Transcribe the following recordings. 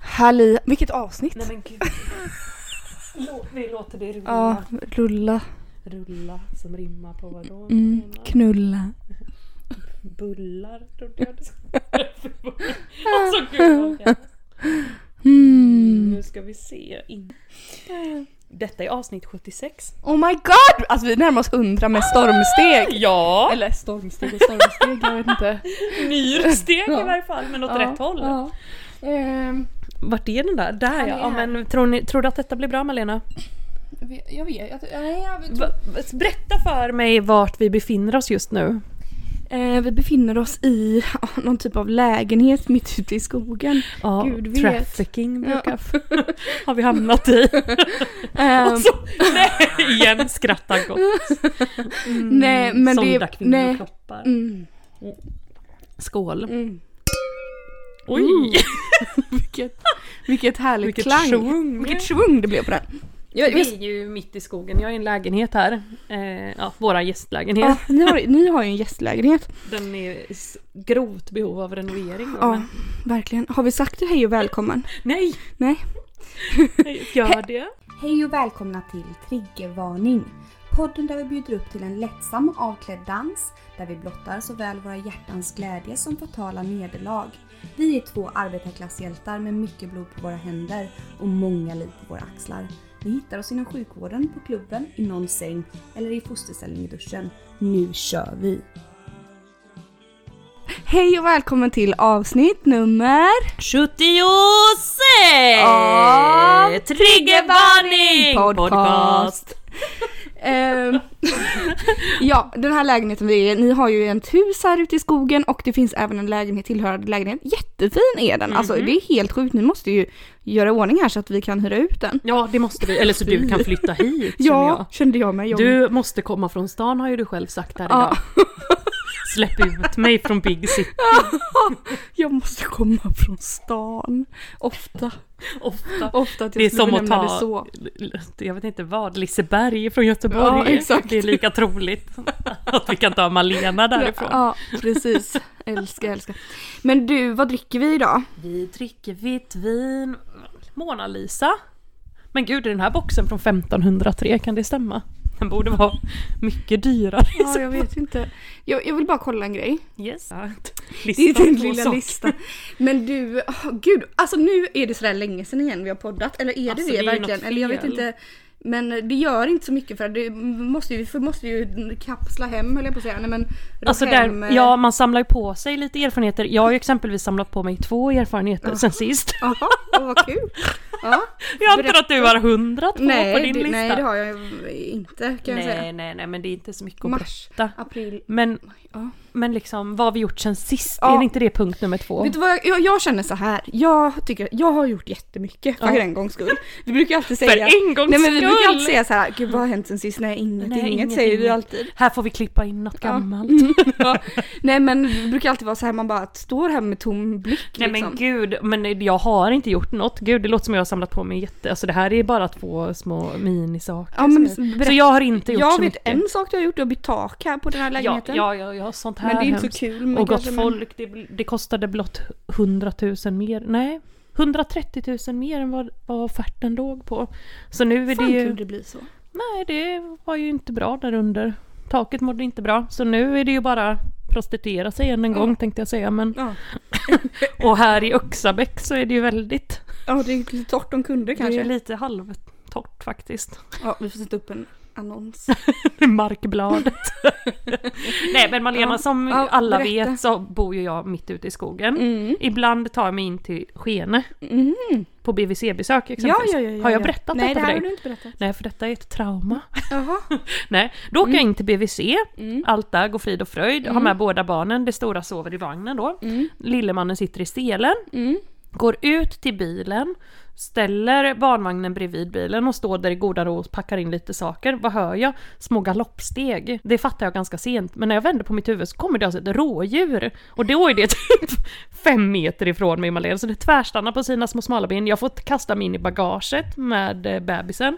Halli... Vilket avsnitt! Nej men gud. Lå- Vi låter det rulla. Ja, rulla, Rulla som rimmar på vadå? mm, Rulla. knulla. Bullar trodde jag det skulle Alltså gud vad hemskt. Mm. Nu ska vi se. In. Detta är avsnitt 76. Oh my god! Alltså vi närmar oss 100 med stormsteg. Ah, Ja! Eller stormsteg och stormsteg, jag vet inte. Myrsteg Ja. i varje fall men åt Ja, rätt håll. ja. Ehm, Vart är den där? Där Han ja. är ja här. men tror, ni, tror du att detta blir bra Malena? jag vet- jag vet, jag, nej, jag vet Va- Berätta för mig vart vi befinner oss just nu. eh, Vi befinner oss i ja, någon typ av lägenhet mitt ute i skogen. Ja, Gud vet. trafficking Ja. brukar... har vi hamnat i. Ehm, Alltså, nej, igen skrattar gott. Mm, Nej, men det- Sonda nej. kvinnokroppar. mm, Skål. mm. Oj! Vilket, vilket härligt Vilket klang. Mm. schvung. Vilket svung det blev på den. Jag, jag, Vi är ju mitt i skogen, jag är i en lägenhet här. Eh, ja, våra gästlägenhet. ja, ni, har, ni har ju en gästlägenhet. Den är i s- grovt behov av renovering. då, Ja, men- verkligen. Har vi sagt hej och välkommen? Nej! Nej. Nej, Gör det. Hej och välkomna till Triggervarning! Podden där vi bjuder upp till en lättsam och avklädd dans där vi blottar såväl våra hjärtans glädje som fatala nederlag. Vi är två arbetarklasshjältar med mycket blod på våra händer och många liv på våra axlar. Ni hittar oss inom sjukvården, på klubben, i någon säng eller i fosterställning i duschen. Nu kör vi! Hej och välkommen till avsnitt nummer... 76! Ja. Triggervarning! Ah, Podcast. Ehm, ja, den här lägenheten vi är i, ni har ju en hus här ute i skogen och det finns även en lägenhet tillhörande lägenhet. Jättefin är den, alltså Mhm. det är helt sjukt. Ni måste ju göra i ordning här så att vi kan hyra ut den. Ja, det måste vi. Eller så du kan flytta hit, känner jag. Ja, kände jag mig. Jag Du måste komma från stan har ju du själv sagt här Ja. idag. Släpp ut mig från Big City Jag måste komma från stan. Ofta. ofta. Ofta att jag Det är skulle som att benämna det ta, så. jag vet inte vad, Liseberg från Göteborg. Ja, exakt. Det är lika troligt att vi kan ta Malena därifrån. Ja, precis. Älskar, älskar. Men du, vad dricker vi idag? Vi dricker vitt vin. Mona Lisa. Men gud, är den här boxen från 1503? Kan det stämma? Den borde vara mycket dyrare. Ja, jag vet inte. Jag, jag vill bara kolla en grej. Yes. Det är Listan din på lilla saker. lista. Men du, åh, gud. Alltså nu är det sådär länge sedan igen vi har poddat. Eller är det Alltså, det, det är ju verkligen? något Eller jag vet fel. inte. Men det gör inte så mycket för det måste ju, vi måste ju kapsla hem höll jag på att säga. Nej, men ro Alltså hem, där, eh, ja, man samlar ju på sig lite erfarenheter. Jag har ju exempelvis samlat på mig två erfarenheter sen sist. Jaha, åh, vad kul. Ja. Jag antar att du har hundra två på Nej, din det, lista. nej det har jag inte kan jag säga. nej, nej, nej, men det är inte så mycket att Mars, berätta. april. Men, Ja. men liksom, vad har vi gjort sen sist? Ja. Är inte det punkt nummer två? Vet du vad jag, jag, jag känner så här. Jag tycker jag har gjort jättemycket för Ja. en gångs skull. Vi brukar alltid säga För en gångs Nej men vi skull! brukar alltid säga så här, gud vad har hänt sen sist? Nej inget, Nej, inget, inget, säger vi inget. alltid. Här får vi klippa in något gammalt. Mm. Ja. Nej men det brukar alltid vara så här man bara står här med tom blick Nej liksom. men gud, men jag har inte gjort något. Gud, det låter som jag har samlat på mig jätte... Alltså det här är bara två små minisaker. Ja, men som jag- berätta. så jag har inte gjort jag så vet mycket. en sak du har gjort, du har bytt tak här på den här ja, lägenheten. ja, ja, ja, sånt här men det är inte hemskt. så kul. Men Och gott kanske- men- folk, det, det kostade blott 100 000 mer. Nej, 130 000 mer än vad, vad offerten låg på. Så nu är det Fan ju... kunde det bli så? Nej, det var ju inte bra där under. Taket mådde inte bra. Så nu är det ju bara prostituera sig än en Mm. gång tänkte jag säga. Men, Ja, och här i Öxabäck så är det ju väldigt... ja det är lite torrt de kunde Det kanske. är lite halvtorrt faktiskt. Ja vi får sätta upp en annons. Markbladet. Nej men Malena Ja. som Ja, alla berätta. vet så bor ju jag mitt ute i skogen. Mm. Ibland tar jag mig in till Skene Mm. på BVC-besök Ja, exempelvis. ja, ja, ja, har jag ja. berättat Nej, detta det för här dig? har du inte Mm. berättat. Nej, för detta är ett trauma. Jaha. Nej, då åker jag Mm. in till BVC, allt där går frid och fröjd, har med båda barnen, det stora sover i vagnen då. Mm. Lillemannen sitter i selen, går ut till bilen, ställer barnvagnen bredvid bilen och står där i goda ro och packar in lite saker. Vad hör jag? Små galoppsteg. Det fattar jag ganska sent, men när jag vänder på mitt huvud så kommer det alltså ett rådjur. Och då är det typ fem meter ifrån mig Malena, så det tvärstannar på sina små smala ben. Jag får kasta mig in i bagaget med eh, bebisen.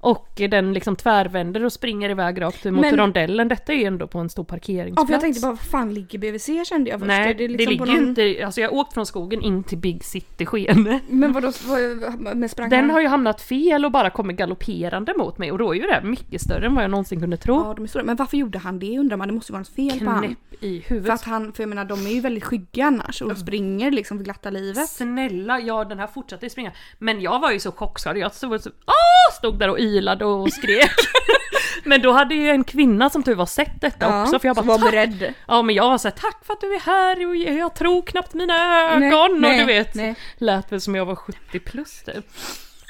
Och den liksom tvärvänder och springer iväg rakt mot Men- rondellen. Detta är ju ändå på en stor Ja, parkeringsplats. för jag tänkte bara, vad fan ligger BVC kände jag först. Nej, Är det, liksom på ligger ju inte... Alltså jag har åkt från skogen in till Big City Skene. Men vadå, vad- men sprang Den han- har ju hamnat fel och bara kommit galopperande mot mig och då är ju det här mycket större än vad jag någonsin kunde tro. Ja, de är stora. Men varför gjorde han det undrar man, det måste ju vara något fel på han. Knäpp i För huvudet. att han, för jag menar de är ju väldigt skygga annars och springer liksom för glatta livet. Snälla, ja den här fortsatte ju springa. Men jag var ju så chockskadad, jag stod, så, Åh! stod där och ylade och skrek. men då hade ju en kvinna som tur var sett detta också för jag så bara var "Tack!" beredd. Ja men jag var såhär tack för att du är här och jag tror knappt mina ögon och nej, du vet. nej. Lät väl som jag var 70 plus typ.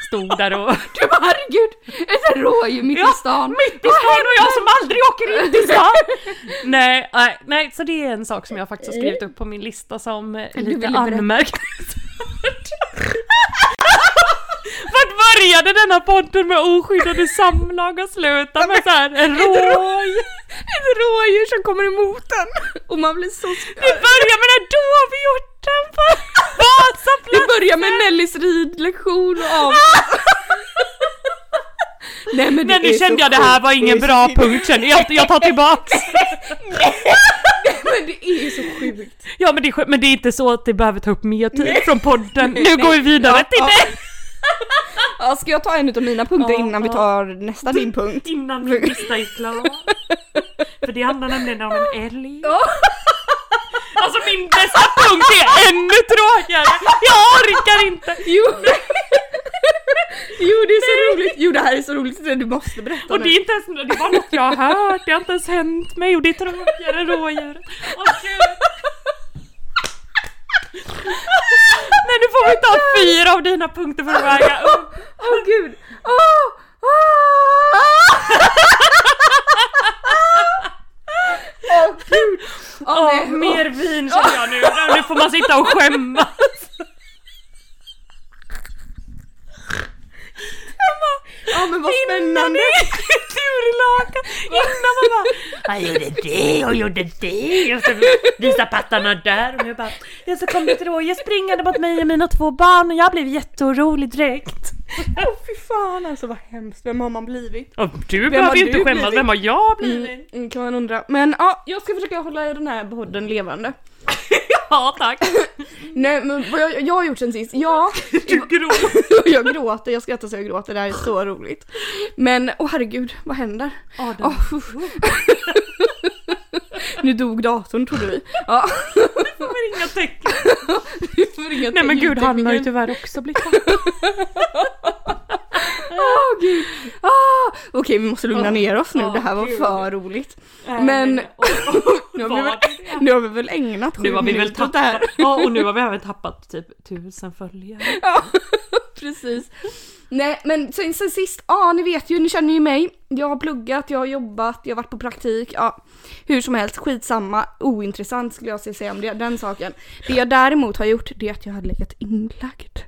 Stod där och... Du bara herregud, ett rådjur mitt Ja, i stan. Mitt i stan och jag som aldrig åker in till stan! nej, nej, nej, så det är en sak som jag faktiskt har skrivit upp på min lista som eh, Du lite ville berätta. anmärkningsvärt. Vart började denna podden med oskyddade samlag och slutade med såhär en råj? Ett rådjur som kommer emot en och man blir så Vi börjar med den dovhjorten på Vi Vasaplan! Ah, börjar med Nellys ridlektion och av... Nej men det Nej nu är kände så jag det här sjukt. var ingen Det är så bra sjukt. punkt kände jag, jag tar tillbaks! Men det är så sjukt. Ja men det, är, skönt, men det är inte så att det behöver ta upp mer tid från podden, nu går vi vidare till Ja, det! Ja, ska jag ta en av mina punkter Ja, innan vi ja. tar nästa din punkt? Innan min lista är klar. För det handlar nämligen om en älg. Alltså min nästa punkt är ännu tråkigare! Jag orkar inte! Jo! jo det är så roligt, jo det här är så roligt så du måste berätta Och nu. det är inte ens, det var något jag har hört, det har inte ens hänt mig och det är tråkigare än rådjur. Åh gud! Nej nu får vi ta fyra av dina punkter för att väga upp. Åh gud! Åh! Åh! Åh gud! Åh, Åh, nej. mer vin känner jag nu, nu får man sitta och skämmas. Ja men vad Innan spännande! det är turlakan, innan man bara Jag gjorde det, jag gjorde det, jag ska visa pattarna där och jag bara Ja så kom det ett rådjur springande mot mig och mina två barn och jag blev jätteorolig direkt. Åh fy fan alltså vad hemskt, vem har man blivit? Ja, Du har behöver ju inte du skämmas, blivit? vem har jag blivit? Mm, mm, kan man undra. Men ja, jag ska försöka hålla den här podden levande. Mm. Ja tack, Nej men vad jag, jag har gjort sen sist, ja, du grov. jag gråter, jag skrattar så jag gråter, det här är så roligt. Men åh herregud, vad händer? Adam. Åh, uff. nu dog datorn trodde vi. Ja. kommer inga tecken. vi får ringa Nej men till gud han har ju ljudteknikern. tyvärr också blivit Åh gud! Ah, Okej vi måste lugna Åh, ner oss nu, åh, det här var ah, gud. för roligt. Men- Nu har vi väl, nu har vi väl ägnat sju Nu har vi väl minuter åt det här. tappat, ja och nu har vi även tappat typ tusen följare. Ja, precis. Nej men sen, sen sist, ja ni vet ju, ni känner ju mig. Jag har pluggat, jag har jobbat, jag har varit på praktik, ja. Hur som helst, skitsamma, ointressant skulle jag säga om det, den saken. Det jag däremot har gjort det är att jag har legat inlagd.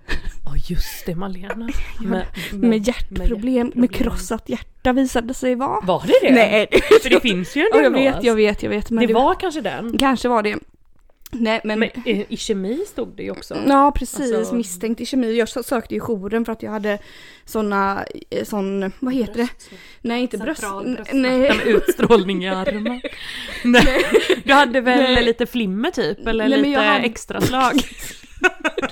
Ja just det Malena. Med, Med hjärtproblem, med hjärtproblem. krossat hjärta visade det sig vara. Var det det? Nej, För det finns ju en ja, jag diagnos. vet, jag vet, jag vet. Men Det var kanske den. Kanske var det. Nej men, Men eh, i kemi stod det ju också. ja precis, Alltså- misstänkt i kemi. Jag sö- sökte ju jouren för att jag hade såna, eh, sån, vad heter det? Nej inte bröst. Central bröstsmärta Nej. med utstrålning i armen. Nej. Du hade väl Nej. lite flimmer typ eller Nej, men lite jag hade- extra slag?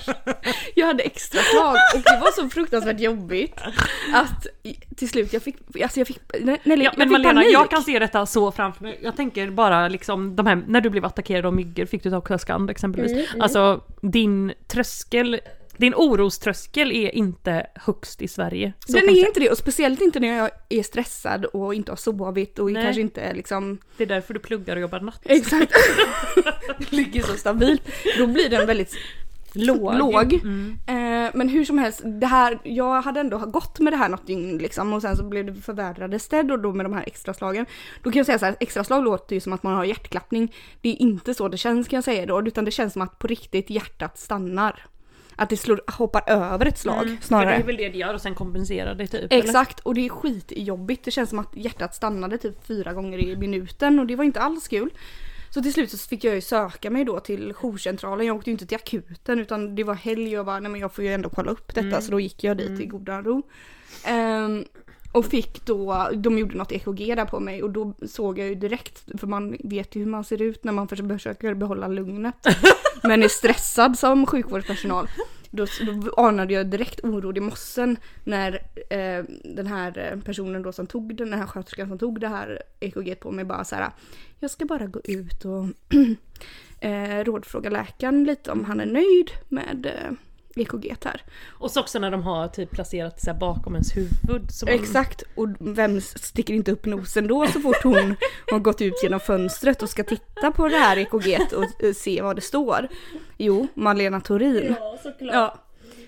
Jag hade extra slag och det var så fruktansvärt jobbigt att i- till slut jag fick, alltså jag fick, nej, nej, Ja, jag men fick Malena, panik. jag kan se detta så framför mig. Jag tänker bara liksom, de här, när du blev attackerad av myggor fick du ta Kuskand exempelvis. Mm, Alltså din tröskel, din oroströskel är inte högst i Sverige. Så Den kan vi är säga. inte det och speciellt inte när jag är stressad och inte har sovit och Nej. kanske inte liksom Det är därför du pluggar och jobbar natt. Exakt. Ligger så stabilt. Då blir den väldigt Låg. låg. Mm. Eh, men hur som helst, det här, jag hade ändå gått med det här något dygn liksom och sen så blev det förvärrade städ och då med de här extra slagen. Då kan jag säga så här, extra slag låter ju som att man har hjärtklappning. Det är inte så det känns kan jag säga då, utan det känns som att på riktigt hjärtat stannar. Att det slår, hoppar över ett slag För det snarare. är väl det det gör och sen kompenserar det typ? eller? Exakt och det är skitjobbigt. Det känns som att hjärtat stannade typ fyra gånger i minuten och det var inte alls kul. Så till slut så fick jag ju söka mig då till jourcentralen. Jag åkte ju inte till akuten utan det var Mm. helg och jag bara nej men jag får ju ändå kolla upp detta så då gick jag dit i godan ro. Ehm, Och fick då, de gjorde något EKG där på mig och då såg jag ju direkt, för man vet ju hur man ser ut när man försöker behålla lugnet. Men är stressad som sjukvårdspersonal. Då, då anade jag direkt oråd i mossen när eh, den här personen då som tog den, den här sköterskan som tog det här EKG på mig bara så här. Jag ska bara gå ut och eh, rådfråga läkaren lite om han är nöjd med eh, EKG här. Och så också när de har typ placerat sig bakom ens huvud. Så man... Exakt, och vem sticker inte upp nosen då så fort hon har gått ut genom fönstret och ska titta på det här EKG och eh, se vad det står? Jo, Malena Torin. Ja, såklart. Ja.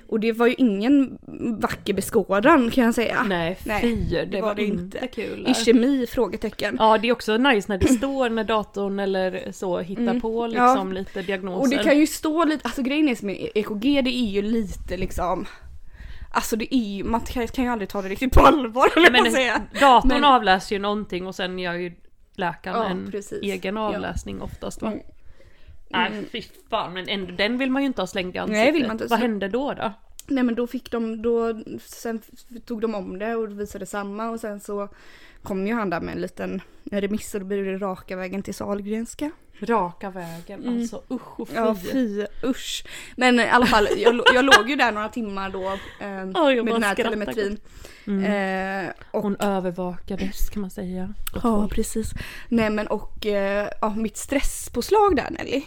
Och det var ju ingen vacker beskådan kan jag säga. Nej, fy. Det, var, det inte, kul. I kemi? Frågetecken. Ja, det är också nice när det står när datorn eller så hittar på liksom Mm. Ja. lite diagnoser. Och det kan ju stå lite, alltså grejen är som med EKG det är ju lite liksom Alltså det är ju, man kan kan ju aldrig ta det riktigt på allvar Nej, kan men jag säga. Datorn Men- avläser ju någonting och sen gör ju läkaren Ja, en precis. egen Ja. Mm. avläsning oftast va? Nej fy fan, men ändå, den vill man ju inte ha slängd i ansiktet. vill man inte. Vad Så- hände då då? Nej men då fick de, då, sen f- tog de om det och visade samma och sen så kom ju han där med en liten remiss och då blev det raka vägen till Sahlgrenska. Raka vägen, alltså usch och fy. Mm. Ja fy usch. Men i alla fall jag, lo- jag låg ju där några timmar då eh, Ja, jag med bara den här skrattar. Mm. telemetrin. Eh, och Hon övervakades kan man säga. Ja, precis. Nej men och eh, ja, mitt stresspåslag där Nelly.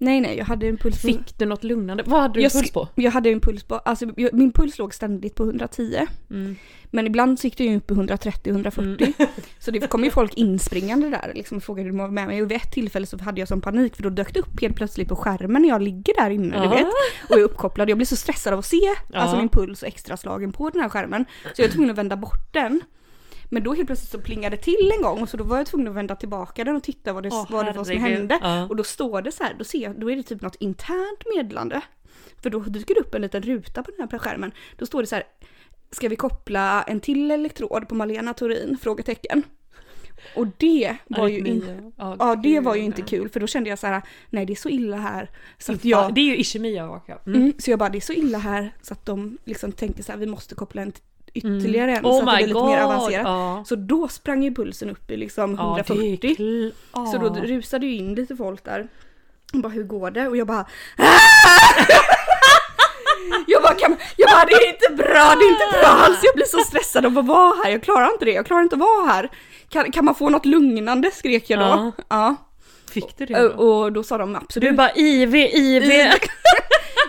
Nej nej, jag hade en puls på... Fick du något lugnande? Vad hade du jag, puls sk- på? Jag hade en puls på, alltså jag, min puls låg ständigt på 110. Mm. Men ibland så gick det ju upp på 130-140. så det kom ju folk inspringande där liksom och frågade hur de var med mig. Och vid ett tillfälle så hade jag som panik för då dök det upp helt plötsligt på skärmen när jag ligger där inne Ja. du vet. Och jag är uppkopplad, jag blir så stressad av att se alltså Ja. min puls och extraslagen på den här skärmen. Så jag var tvungen att vända bort den. Men då helt plötsligt så plingade det till en gång och så då var jag tvungen att vända tillbaka den och titta vad det, Åh, vad det var som herregud. hände. Ja. Och då står det så här, då, ser jag, då är det typ något internt meddelande. För då dyker det upp en liten ruta på den här skärmen. Då står det så här, ska vi koppla en till elektrod på Malena Torin? Frågetecken. Och det var ju inte... Ja, Ja det gud. var ju inte kul för då kände jag så här, nej det är så illa här. Så att Typ, Ja, jag, det är ju ischemi jag vaknar. Mm. mm, så jag bara det är så illa här så att de liksom tänkte så här vi måste koppla en t- ytterligare en så Oh att det my blir lite mer God, avancerat. ja. Så då sprang ju pulsen upp i liksom Ja, det 140. är kl- ja. Så då rusade ju in lite folk där. Och bara hur går det? Och jag bara jag bara, kan, jag bara det är inte bra, det är inte bra alls. Jag blir så stressad av att vara här. Jag klarar inte det, jag klarar inte att vara här. Kan, kan man få något lugnande skrek jag då. Ja. Fick du det Ö, då? Mm. Och då sa de absolut. du bara IV, IV!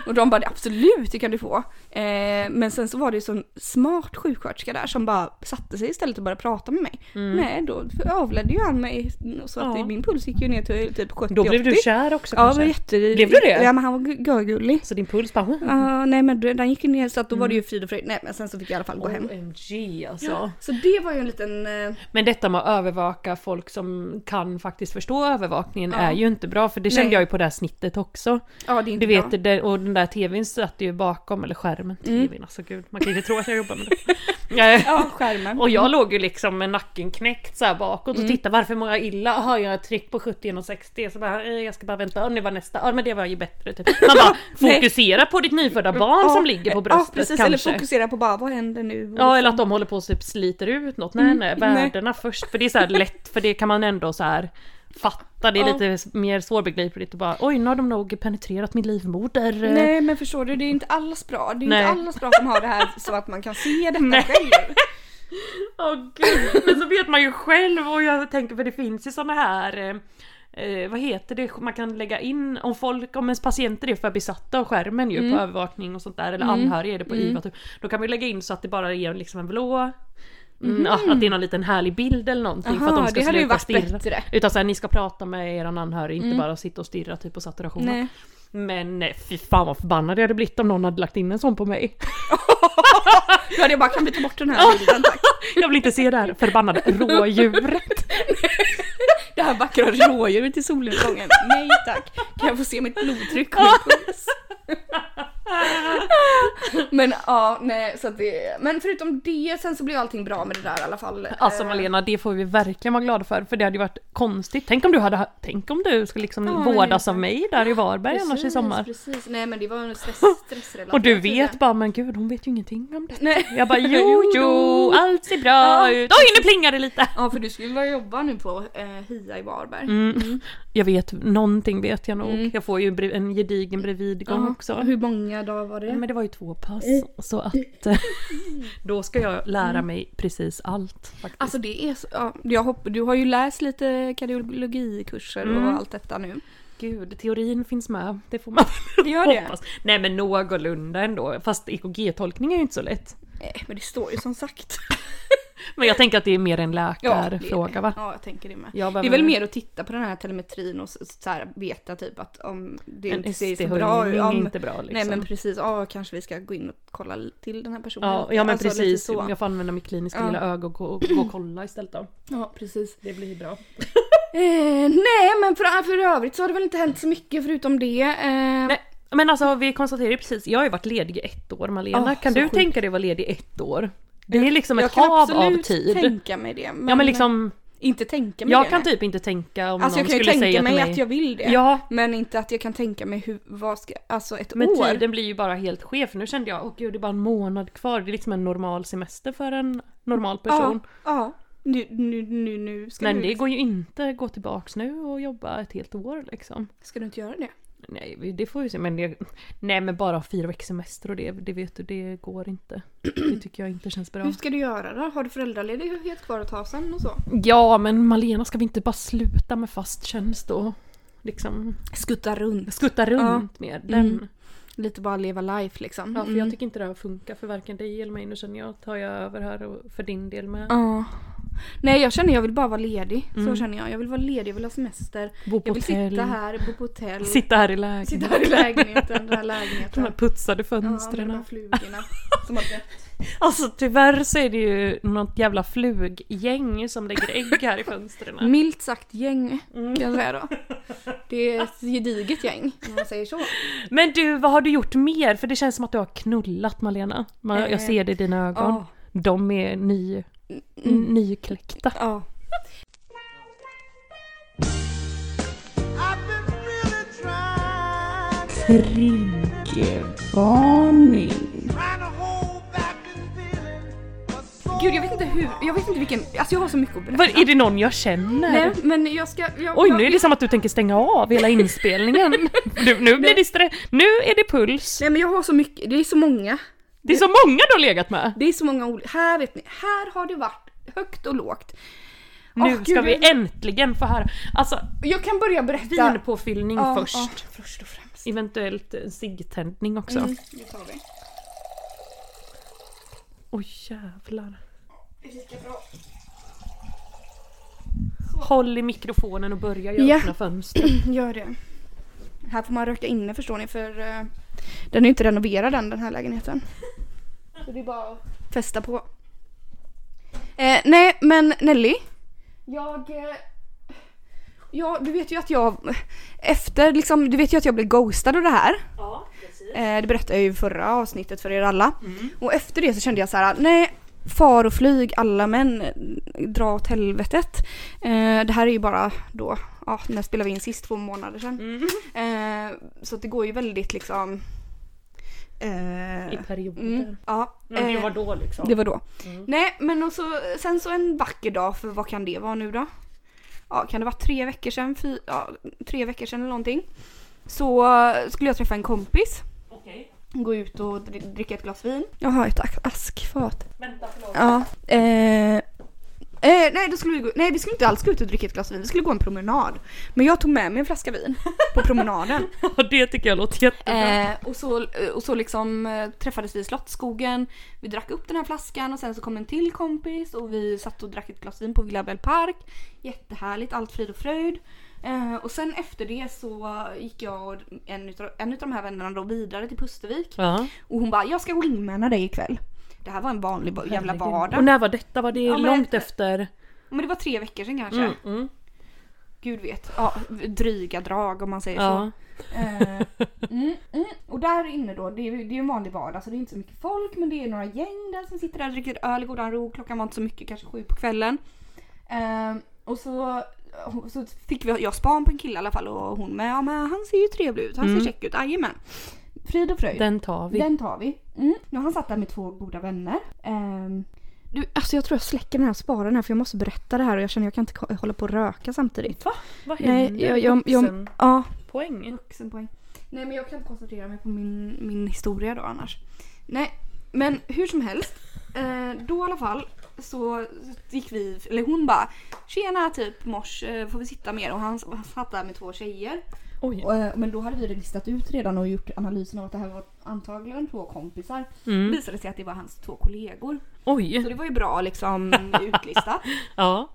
Och de bara absolut det kan du få. Eh, men sen så var det ju sån smart sjuksköterska där som bara satte sig istället och började prata med mig. Nej då avledde ju han mig så att Mm. Ja. min puls gick ju ner till typ 70-80. Då blev du kär också Ja, kanske? var jätte... Blev du det? Mm. Ja men han var gu- görgullig. Så din puls bara... Ja, nej men den gick ju ner så att då var Mm. det ju frid och fröjd. Nej men sen så fick jag i alla fall gå hem. OMG alltså. Så det var ju en liten... eh, Men detta med att övervaka folk som kan faktiskt förstå övervakningen är ju inte bra för det kände Nej. jag ju på det här snittet också. Ja det är inte Du vet, bra. det, och den där tvn satt ju bakom, eller skärmen, tvn, alltså gud, man kan ju inte tro att jag jobbar med det. Eh, Ja skärmen. Och jag låg ju liksom med nacken knäckt så här bakåt Mm. och tittade varför mår jag illa? Jaha jag har ett tryck på 70 genom 60 så bara, eh, jag ska bara vänta, ja, nu var nästa, ja men det var ju bättre typ. Man bara Nej. Mm. fokusera på ditt nyfödda barn som ligger på bröstet Ja precis kanske. eller fokusera på bara vad händer nu? Ja eller att de håller på att typ sliter ut något. Nej nej, Mm, nej. värdena först. För det är så här lätt, för det kan man ändå så här fatta. Det är Ja. lite mer svårbegripligt och bara oj nu har de nog penetrerat min livmoder. Nej men förstår du, det är inte alls bra. Det är Eh, Nej. inte alls bra som har det här så att man kan se detta Nej. själv. Åh gud, men så vet man ju själv och jag tänker för det finns ju såna här eh, eh, vad heter det man kan lägga in om folk, om ens patienter är för besatta av skärmen ju Mm. på övervakning och sånt där eller anhöriga är det på IVA typ. Då kan man ju lägga in så att det bara är liksom en blå Mm, ja, att det är någon liten härlig bild eller någonting för att Mm-hmm. Aha, de ska det hade ju sluta varit stirra. bättre. Mm. Utan såhär, ni ska prata med eran anhörig, inte bara sitta och stirra typ på saturationen. Nej. Men eh, fy fan vad förbannad jag hade blivit om någon hade lagt in en sån på mig. Ja det är bara kan vi ta bort den här bilden tack. Jag vill inte se det här förbannade rådjuret. Det här vackra rådjuret i solnedgången. Nej tack. Kan jag få se mitt blodtryck och min puls? Men ja, nej så att det, Men förutom det sen så blev allting bra med det där i alla fall. Alltså Eh, Malena, det får vi verkligen vara glada för. För det hade ju varit konstigt. Tänk om du, hade, tänk om du skulle liksom Ja, men- vårdas av mig där i Varberg annars i sommar. Precis, nej men det var en stress, stressrelaterad Och du tydligen. vet bara, men gud hon vet ju ingenting om det. Nej. Jag bara, jo jo, allt ser bra Ja. ut. Oj, nu plingar det lite! Ja för du skulle börja jobba nu på eh, HIA i Varberg. Mm. Jag vet, någonting vet jag nog. Mm. Jag får ju brev- en gedigen bredvidgång Ja, också. Hur många dagar var det? Men det var ju två pass, så att då ska jag lära mig precis allt. Faktiskt. Alltså det är så, ja, jag hopp, du har ju läst lite kardiologikurser Mm. och allt detta nu. Gud, teorin finns med. Det får man gör det. hoppas. Nej men någorlunda ändå. Fast EKG-tolkning är ju inte så lätt. Nej Eh, men det står ju som sagt. Men jag tänker att det är mer en det är läkarfråga det. va? Ja jag tänker det med. Jag det behöver- är väl mer att titta på den här telemetrin och så, så här, veta typ att om det En inte ser så bra ST-höjning ut. är Om, inte bra liksom. Nej men precis, ja kanske vi ska gå in och kolla till den här personen. Ja, lite. ja men Alltså, lite precis, så. jag får använda mitt kliniska Ja. lilla öga och gå, och gå och kolla istället då. Ja precis. Det blir bra. Eh, nej men för, för övrigt så har det väl inte hänt så mycket förutom det. Eh, Nej, men alltså vi konstaterar ju precis, jag har ju varit ledig i ett år Malena. Ah, kan så du sjukt. tänka dig att vara ledig i ett år? Det är liksom jag ett kan hav av absolut tid. tänka mig det. Men ja men liksom, Inte tänka mig jag det. kan nej. typ inte tänka om Alltså jag någon kan ju skulle tänka säga mig till mig. att jag vill det. Ja, Men inte att jag kan tänka mig hur, vad ska, alltså ett men år. tiden blir ju bara helt skev för nu kände jag, åh gud det är bara en månad kvar. Det är liksom en normal semester för en normal person. Ja, ja. Nu, nu, nu, nu ska, men du, det går ju inte att gå tillbaks nu och jobba ett helt år liksom. ska du inte göra det? Nej, vi- det får vi se. Men det, nej, men bara fyra veckors semester och det, det vet du, det går inte. Det tycker jag inte känns bra. Hur ska du göra då? Har du föräldraledighet kvar att ta sen och så? Ja, men Malena, ska vi inte bara sluta med fast tjänst och liksom Skutta runt. skutta runt mer? Den. Mm. Lite bara leva life liksom. Ja, för Mm. jag tycker inte det här funkar för varken dig eller mig. Nu känner jag, tar jag över här och för din del med. Ja. Nej jag känner jag vill bara vara ledig. Mm. Så känner jag. Jag vill vara ledig, jag vill ha semester. Bo på Jag vill hotell. sitta här, bo på hotell. Sitta här i lägenheten. sitta här i lägenheten, den Mm. här De här lägenheten. putsade Ja, med fönstren. de här flugorna som har dött. alltså tyvärr så är det ju något jävla fluggäng som lägger ägg här i fönstren. Milt sagt gäng kan jag säga då. Det är ett gediget gäng om man säger så. Men du, vad har du gjort mer? För det känns som att du har knullat Malena. Man, Eh, jag ser det i dina ögon. ja. Mm. De är ny, nykläckta. Ja. I've been really trying, trying to hold back this feeling. but so Gud jag vet inte hur, jag vet inte vilken, alltså jag har så mycket att berätta. Var, är det någon jag känner? Nej men jag ska, jag, Oj, jag, nu är det som att du tänker stänga av hela inspelningen. Du, nu, blir det stre- nu är det puls. Nej men jag har så mycket, det är så många. Det är så många du har legat med. Det är så många olika, här vet ni, här har det varit högt och lågt. Åh, Nu gud, ska jag- vi äntligen få höra. Alltså, Jag kan börja berätta. vinpåfyllning Ja, först. ja, först och främst. Eventuellt en ciggtändning också. Mm, det tar vi. Oj jävlar. Det är lika bra. Håll i mikrofonen och börja göra Ja. öppna fönster. Gör det. Här får man röka inne förstår ni för eh, den är ju inte renoverad än den här lägenheten. Så det är bara att fästa på. Eh, nej men Nelly. Jag... Eh, ja du vet ju att jag efter liksom, du vet ju att jag blev ghostad och det här. Ja, precis. Eh, det berättade jag ju i förra avsnittet för er alla. Mm. Och efter det så kände jag så här: nej, far och flyg alla män, dra åt helvetet. Eh, det här är ju bara då, ja, när spelade vi in sist? Två månader Mm. sedan. Eh, så att det går ju väldigt liksom... eh, I perioder. mm, ja, Men det eh, var då liksom. det var då. Nej men och så, sen så en vacker dag, för vad kan det vara nu då? Ja kan det vara tre veckor sedan, fy, ja, tre veckor sedan eller någonting. Så eh, skulle jag träffa en kompis Okej, gå ut och dri- dricka ett glas vin. Jag har ett ak- askfat. vänta förlåt. Ja. Eh, eh, nej, då skulle vi gå, nej, vi skulle inte alls gå ut och dricka ett glas vin, vi skulle gå en promenad. Men jag tog med mig en flaska vin på promenaden. det tycker jag låter jättebra. Eh, och, så, och så liksom eh, träffades vi i Slottsskogen, vi drack upp den här flaskan och sen så kom en till kompis och vi satt och drack ett glas vin på Glabell Park. Jättehärligt, allt frid och fröjd. Eh, och sen efter det så gick jag och en utav, en utav de här vännerna då vidare till Pustervik. Ja. Och hon bara, jag ska wingmana dig ikväll. Det här var en vanlig ba- jävla vardag. Och när var detta? Var det Ja, men- långt efter? Men det var tre veckor sedan kanske. Mm, mm. Gud vet. Ja, dryga drag om man säger Ja. så. Eh, mm, mm. Och där inne då, det är ju det är ju en vanlig vardag så det är inte så mycket folk men det är några gäng där som sitter där och dricker öl i godan ro. Klockan var inte så mycket, kanske sju på kvällen. Eh, och så så fick vi, jag span på en kille i alla fall och hon med. Ja men han ser ju trevlig ut, han Mm. ser check ut, jajamän. Frid och fröjd. Den tar vi. Den tar vi. Mm. Nu har han satt där med två goda vänner. Ehm, du, alltså jag tror jag släcker den här och sparar den här för jag måste berätta det här och jag känner jag kan inte ko- hålla på och röka samtidigt. Va? Vad händer? Nej, jag, jag, jag, ja. Poäng. Vuxenpoäng. Nej men jag kan inte koncentrera mig på min, min historia då annars. Nej, men hur som helst. Eh, då i alla fall så gick vi, eller hon bara Tjena typ mors, eh, får vi sitta mer? Och han, han satt där med två tjejer. Oj. Och, eh, men då hade vi det listat ut redan och gjort analysen av att det här var antagligen två kompisar. Mm. Visade sig att det var hans två kollegor. Så Oj. det var ju bra liksom utlistat. Ja.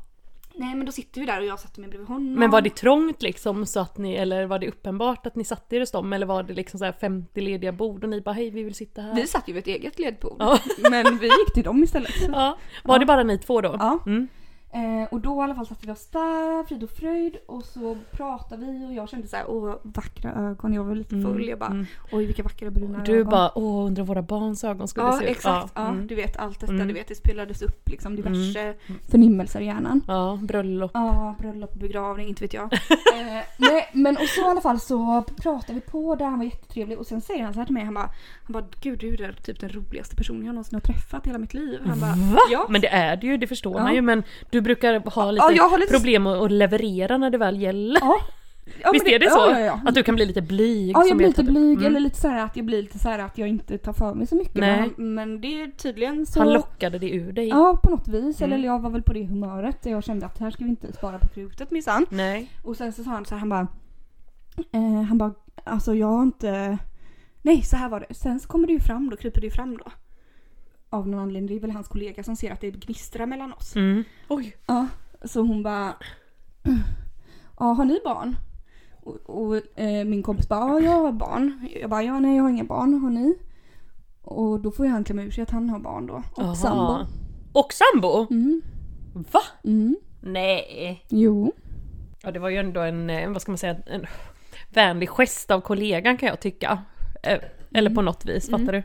Nej men då sitter vi där och jag satte mig bredvid honom. Men var det trångt liksom så att ni, eller var det uppenbart att ni satte er hos dem? Eller var det liksom så här 50 lediga bord och ni bara hej vi vill sitta här? Vi satt ju vid ett eget ledbord. Ja. Men vi gick till dem istället. Ja. Var det bara ni två då? Ja. Mm. Eh, och då i alla fall satte vi oss där, frid och fröjd och så pratade vi och jag kände så här, åh vackra ögon, jag var lite full. jag bara, oj vilka vackra bruna Mm, Du ögon. bara åh undrar våra barns ögon skulle Ja se ut. exakt, ja, mm. du vet allt detta, Mm. du vet det spelades upp liksom diverse förnimmelser i hjärnan. ja bröllop. Ja, bröllop och begravning, inte vet jag. eh, nej, men och så i alla fall så pratade vi på där, han var jättetrevlig och sen säger han så här till mig, han bara, han bara gud du är den- typ den roligaste personen jag någonsin har träffat i hela mitt liv. Han bara, Va? ja. Men det är det ju, det förstår Ja. man ju men du brukar ha lite, Ja, jag har lite- problem att, att leverera när det väl gäller. Ja. Ja, Visst men är det så? Ja, ja, ja. Att du kan bli lite blyg? Ja, som jag blir vet lite att- blyg Mm. eller lite så här att jag blir lite så här att jag inte tar för mig så mycket. Nej. Men, han- men det är tydligen så... Han lockade det ur dig? Ja, på något vis. Mm. Eller jag var väl på det humöret. Jag kände att här ska vi inte spara på krutet minsann. Nej. Och sen så sa han så här, han bara... Eh, han bara, alltså jag har inte... Nej, så här var det. Sen så kommer det ju fram då, kryper det ju fram då. Av någon anledning. Det är väl hans kollega som ser att det gnistrar mellan oss. Mm. Oj. Ja, så hon bara... Ja, har ni barn? Och, och eh, min kompis bara, ja jag har barn. Jag bara, ja nej jag har inga barn, har ni? Och då får ju han klämma ur sig att han har barn då. Och Aha. sambo. Och sambo? Mm, Va? mm, Nej. jo. Ja det var ju ändå en, eh, vad ska man säga, en vänlig gest av kollegan kan jag tycka. Eh, Eller Mm. på något vis, fattar du?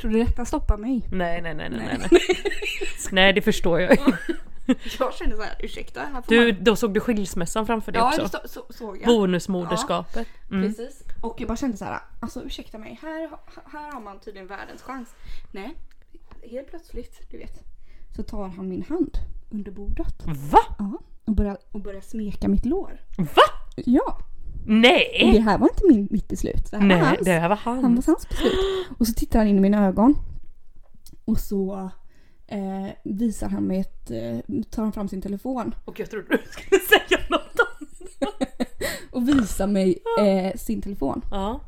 Tror du detta stoppar mig? Nej, nej, nej, nej, nej. Nej, nej det förstår jag ju. Jag kände så här, ursäkta. Här får Du, man... då såg du skilsmässan framför dig Ja, också. det så, så, såg jag. Bonusmoderskapet. Mm. Precis. Och jag bara kände så här, alltså ursäkta mig, här, ha- här har man tydligen världens chans. Nej, helt plötsligt, du vet, så tar han min hand under bordet. Va? Ja, och började, och började smeka mitt lår. Va? Ja, och det Nej! här var inte min, mitt beslut. Det här var Nej, hans. det här var Han var han. hans beslut. Och så tittar han in i mina ögon. Och så eh, visar han mig ett, eh, tar han fram sin telefon Och jag trodde du skulle säga något annat. och visar mig eh, sin telefon. Ja,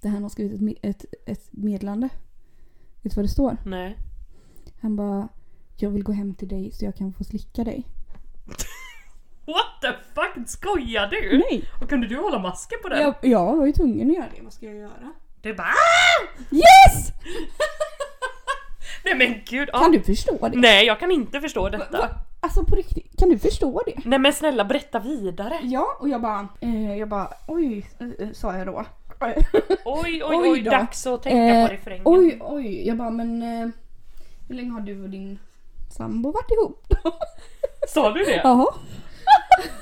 Där han har skrivit ett, me- ett, ett meddelande. Vet du vad det står? nej. Han bara jag vill gå hem till dig så jag kan få slicka dig. What the fuck, skojar du? Nej! Och kunde du hålla masken på den? Jag, jag var ju tvungen att göra det. Vad ska jag göra? Du bara "Ah!" Yes! Nej men gud. ja. Kan du förstå det? Nej jag kan inte förstå detta. Alltså på riktigt, kan du förstå det? Nej men snälla berätta vidare. Ja, och jag bara, eh, jag bara oj, eh, eh, sa jag då. Oj oj Oj oj, då. dags att tänka Eh, på refrängen. oj, oj, jag bara men eh, hur länge har du och din sambo varit ihop då? Sa du det? Jaha.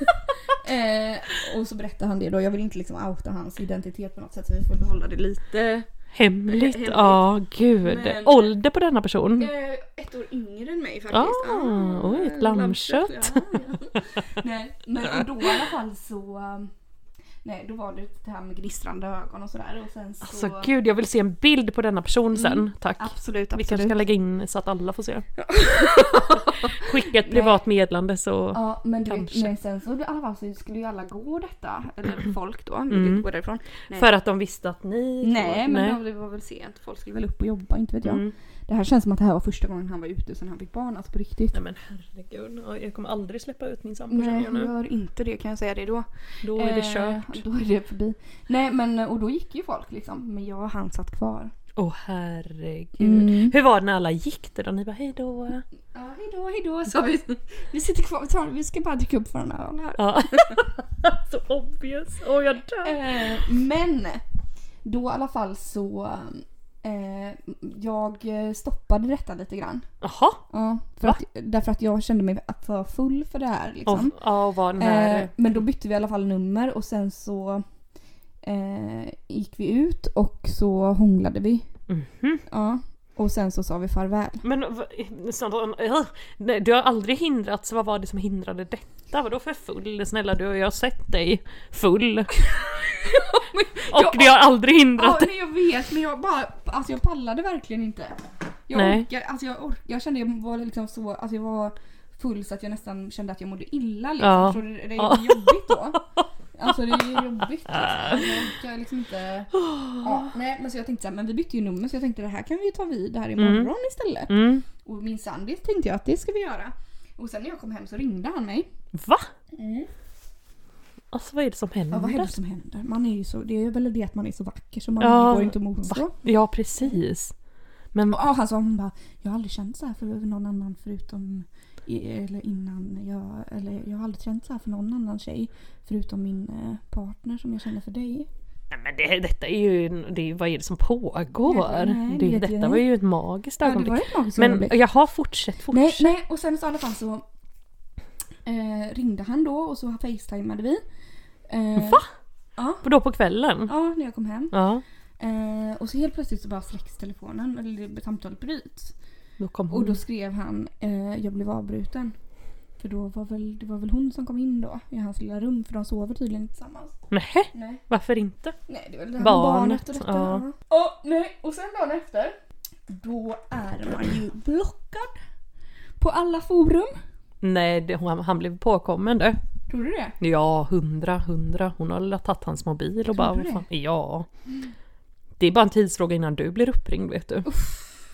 eh, och så berättar han det då, jag vill inte liksom outa hans identitet på något sätt så vi får behålla det lite. Hemligt, Hemligt. ja gud. Men- Ålder på denna person? Eh, ett år yngre än mig Mm. Ah, faktiskt. oj, ett lammkött. Ja, ja. nej, men och då i alla fall så... um, Nej, då var det det här med gnistrande ögon och sådär och sen så... Alltså gud, jag vill se en bild på denna person sen. Tack. Absolut, Vi absolut. kanske kan lägga in så att alla får se. Skicka ett privat meddelande så... Ja, men du vet, Kanske. men sen så i alla fall så skulle ju alla gå detta, eller folk då, vi Mm. mm. gå därifrån. nej. För att de visste att ni... Nej, men Nej. då- det var väl sent, folk skulle väl upp och jobba, inte vet jag. Mm. Det här känns som att det här var första gången han var ute sen han fick barn, alltså på riktigt. Nej men herregud, Oj, jag kommer aldrig släppa ut min sambo känner Nej, jag nu. gör inte det kan jag säga det då. Då är det Eh, kört. Då är det förbi. Nej men eh, och då gick ju folk liksom. Men jag och han satt kvar. Åh herregud. Mm. Hur var det när alla gick då? Ni bara hejdå? Ja hejdå hejdå sa vi. Vi sitter kvar, vi, tar, vi ska bara dricka upp varandra öl här. Ja. så obvious. Åh jag dör. Eh, men då i alla fall så eh, eh, jag eh, stoppade detta lite grann. Jaha. Ja, för Va? att, därför att jag kände mig för full för det här. Och, Liksom. ja, och var den här... Eh, men då bytte vi i alla fall nummer och sen så eh, gick vi ut och så hånglade vi. Mhm. Ja. Och sen så sa vi farväl. Men v- sån- eh, nej, du har aldrig hindrats, vad var det som hindrade detta? Vadå för full? Snälla du, jag har sett dig full. Och det har aldrig hindrat Ja, nej, jag vet men jag bara, alltså jag pallade verkligen inte. Jag Nej. orkar, alltså jag orkar, jag kände jag var liksom så, alltså jag var full så att jag nästan kände att jag mådde illa liksom. Ja. Så det, det är Ja. jobbigt då. Alltså det är ju jobbigt liksom. Jag orkar liksom inte. Ja, nej men så jag tänkte såhär, men vi bytte ju nummer så jag tänkte det här kan vi ju ta vid här imorgon istället. Mm. Och min det tänkte jag att det ska vi göra. Och sen när jag kom hem så ringde han mig. Va? Mm. Alltså vad är det som Ja, vad händer? är det som händer? Man är ju så, det är väl det att man är så vacker så man Ja, går inte emot Va? Ja, precis. Men Ja, han sa hon bara, jag har aldrig känt så här för någon annan förutom i- eller innan jag, eller jag har aldrig känt så här för någon annan tjej förutom min eh, partner som jag känner för dig. Nej, men det, detta är ju, det, är- vad är det som pågår? Nej, nej, det, det vet detta jag. var ju ett magiskt Ja, det var ögonblick. ett magiskt Men ögonblick. jag har fortsätt, Nej, fortsätt. nej, och sen så i alla fall så eh, ringde han då och så facetimade vi. Eh, Va? Ja. Då på kvällen? Ja, när jag kom hem. Ja. Eh, och så helt plötsligt så bara släcks telefonen, eller det- samtalet bryts. Då kom Och hon. då skrev han eh, jag blev avbruten. För då var väl, det var väl hon som kom in då i hans lilla rum för de sover tydligen tillsammans. Nähä, Nej, varför inte? nej det var väl det här med Barnet, barnet och detta. ja. Ja, nej, och sen dagen efter då är man ju blockad. På alla forum. Nej, det, hon, han blev påkommen du. Tror du det? Ja, hundra, hundra. Hon har väl tagit hans mobil och bara... du Vad fan? det? Ja. Det är bara en tidsfråga innan du blir uppringd vet du.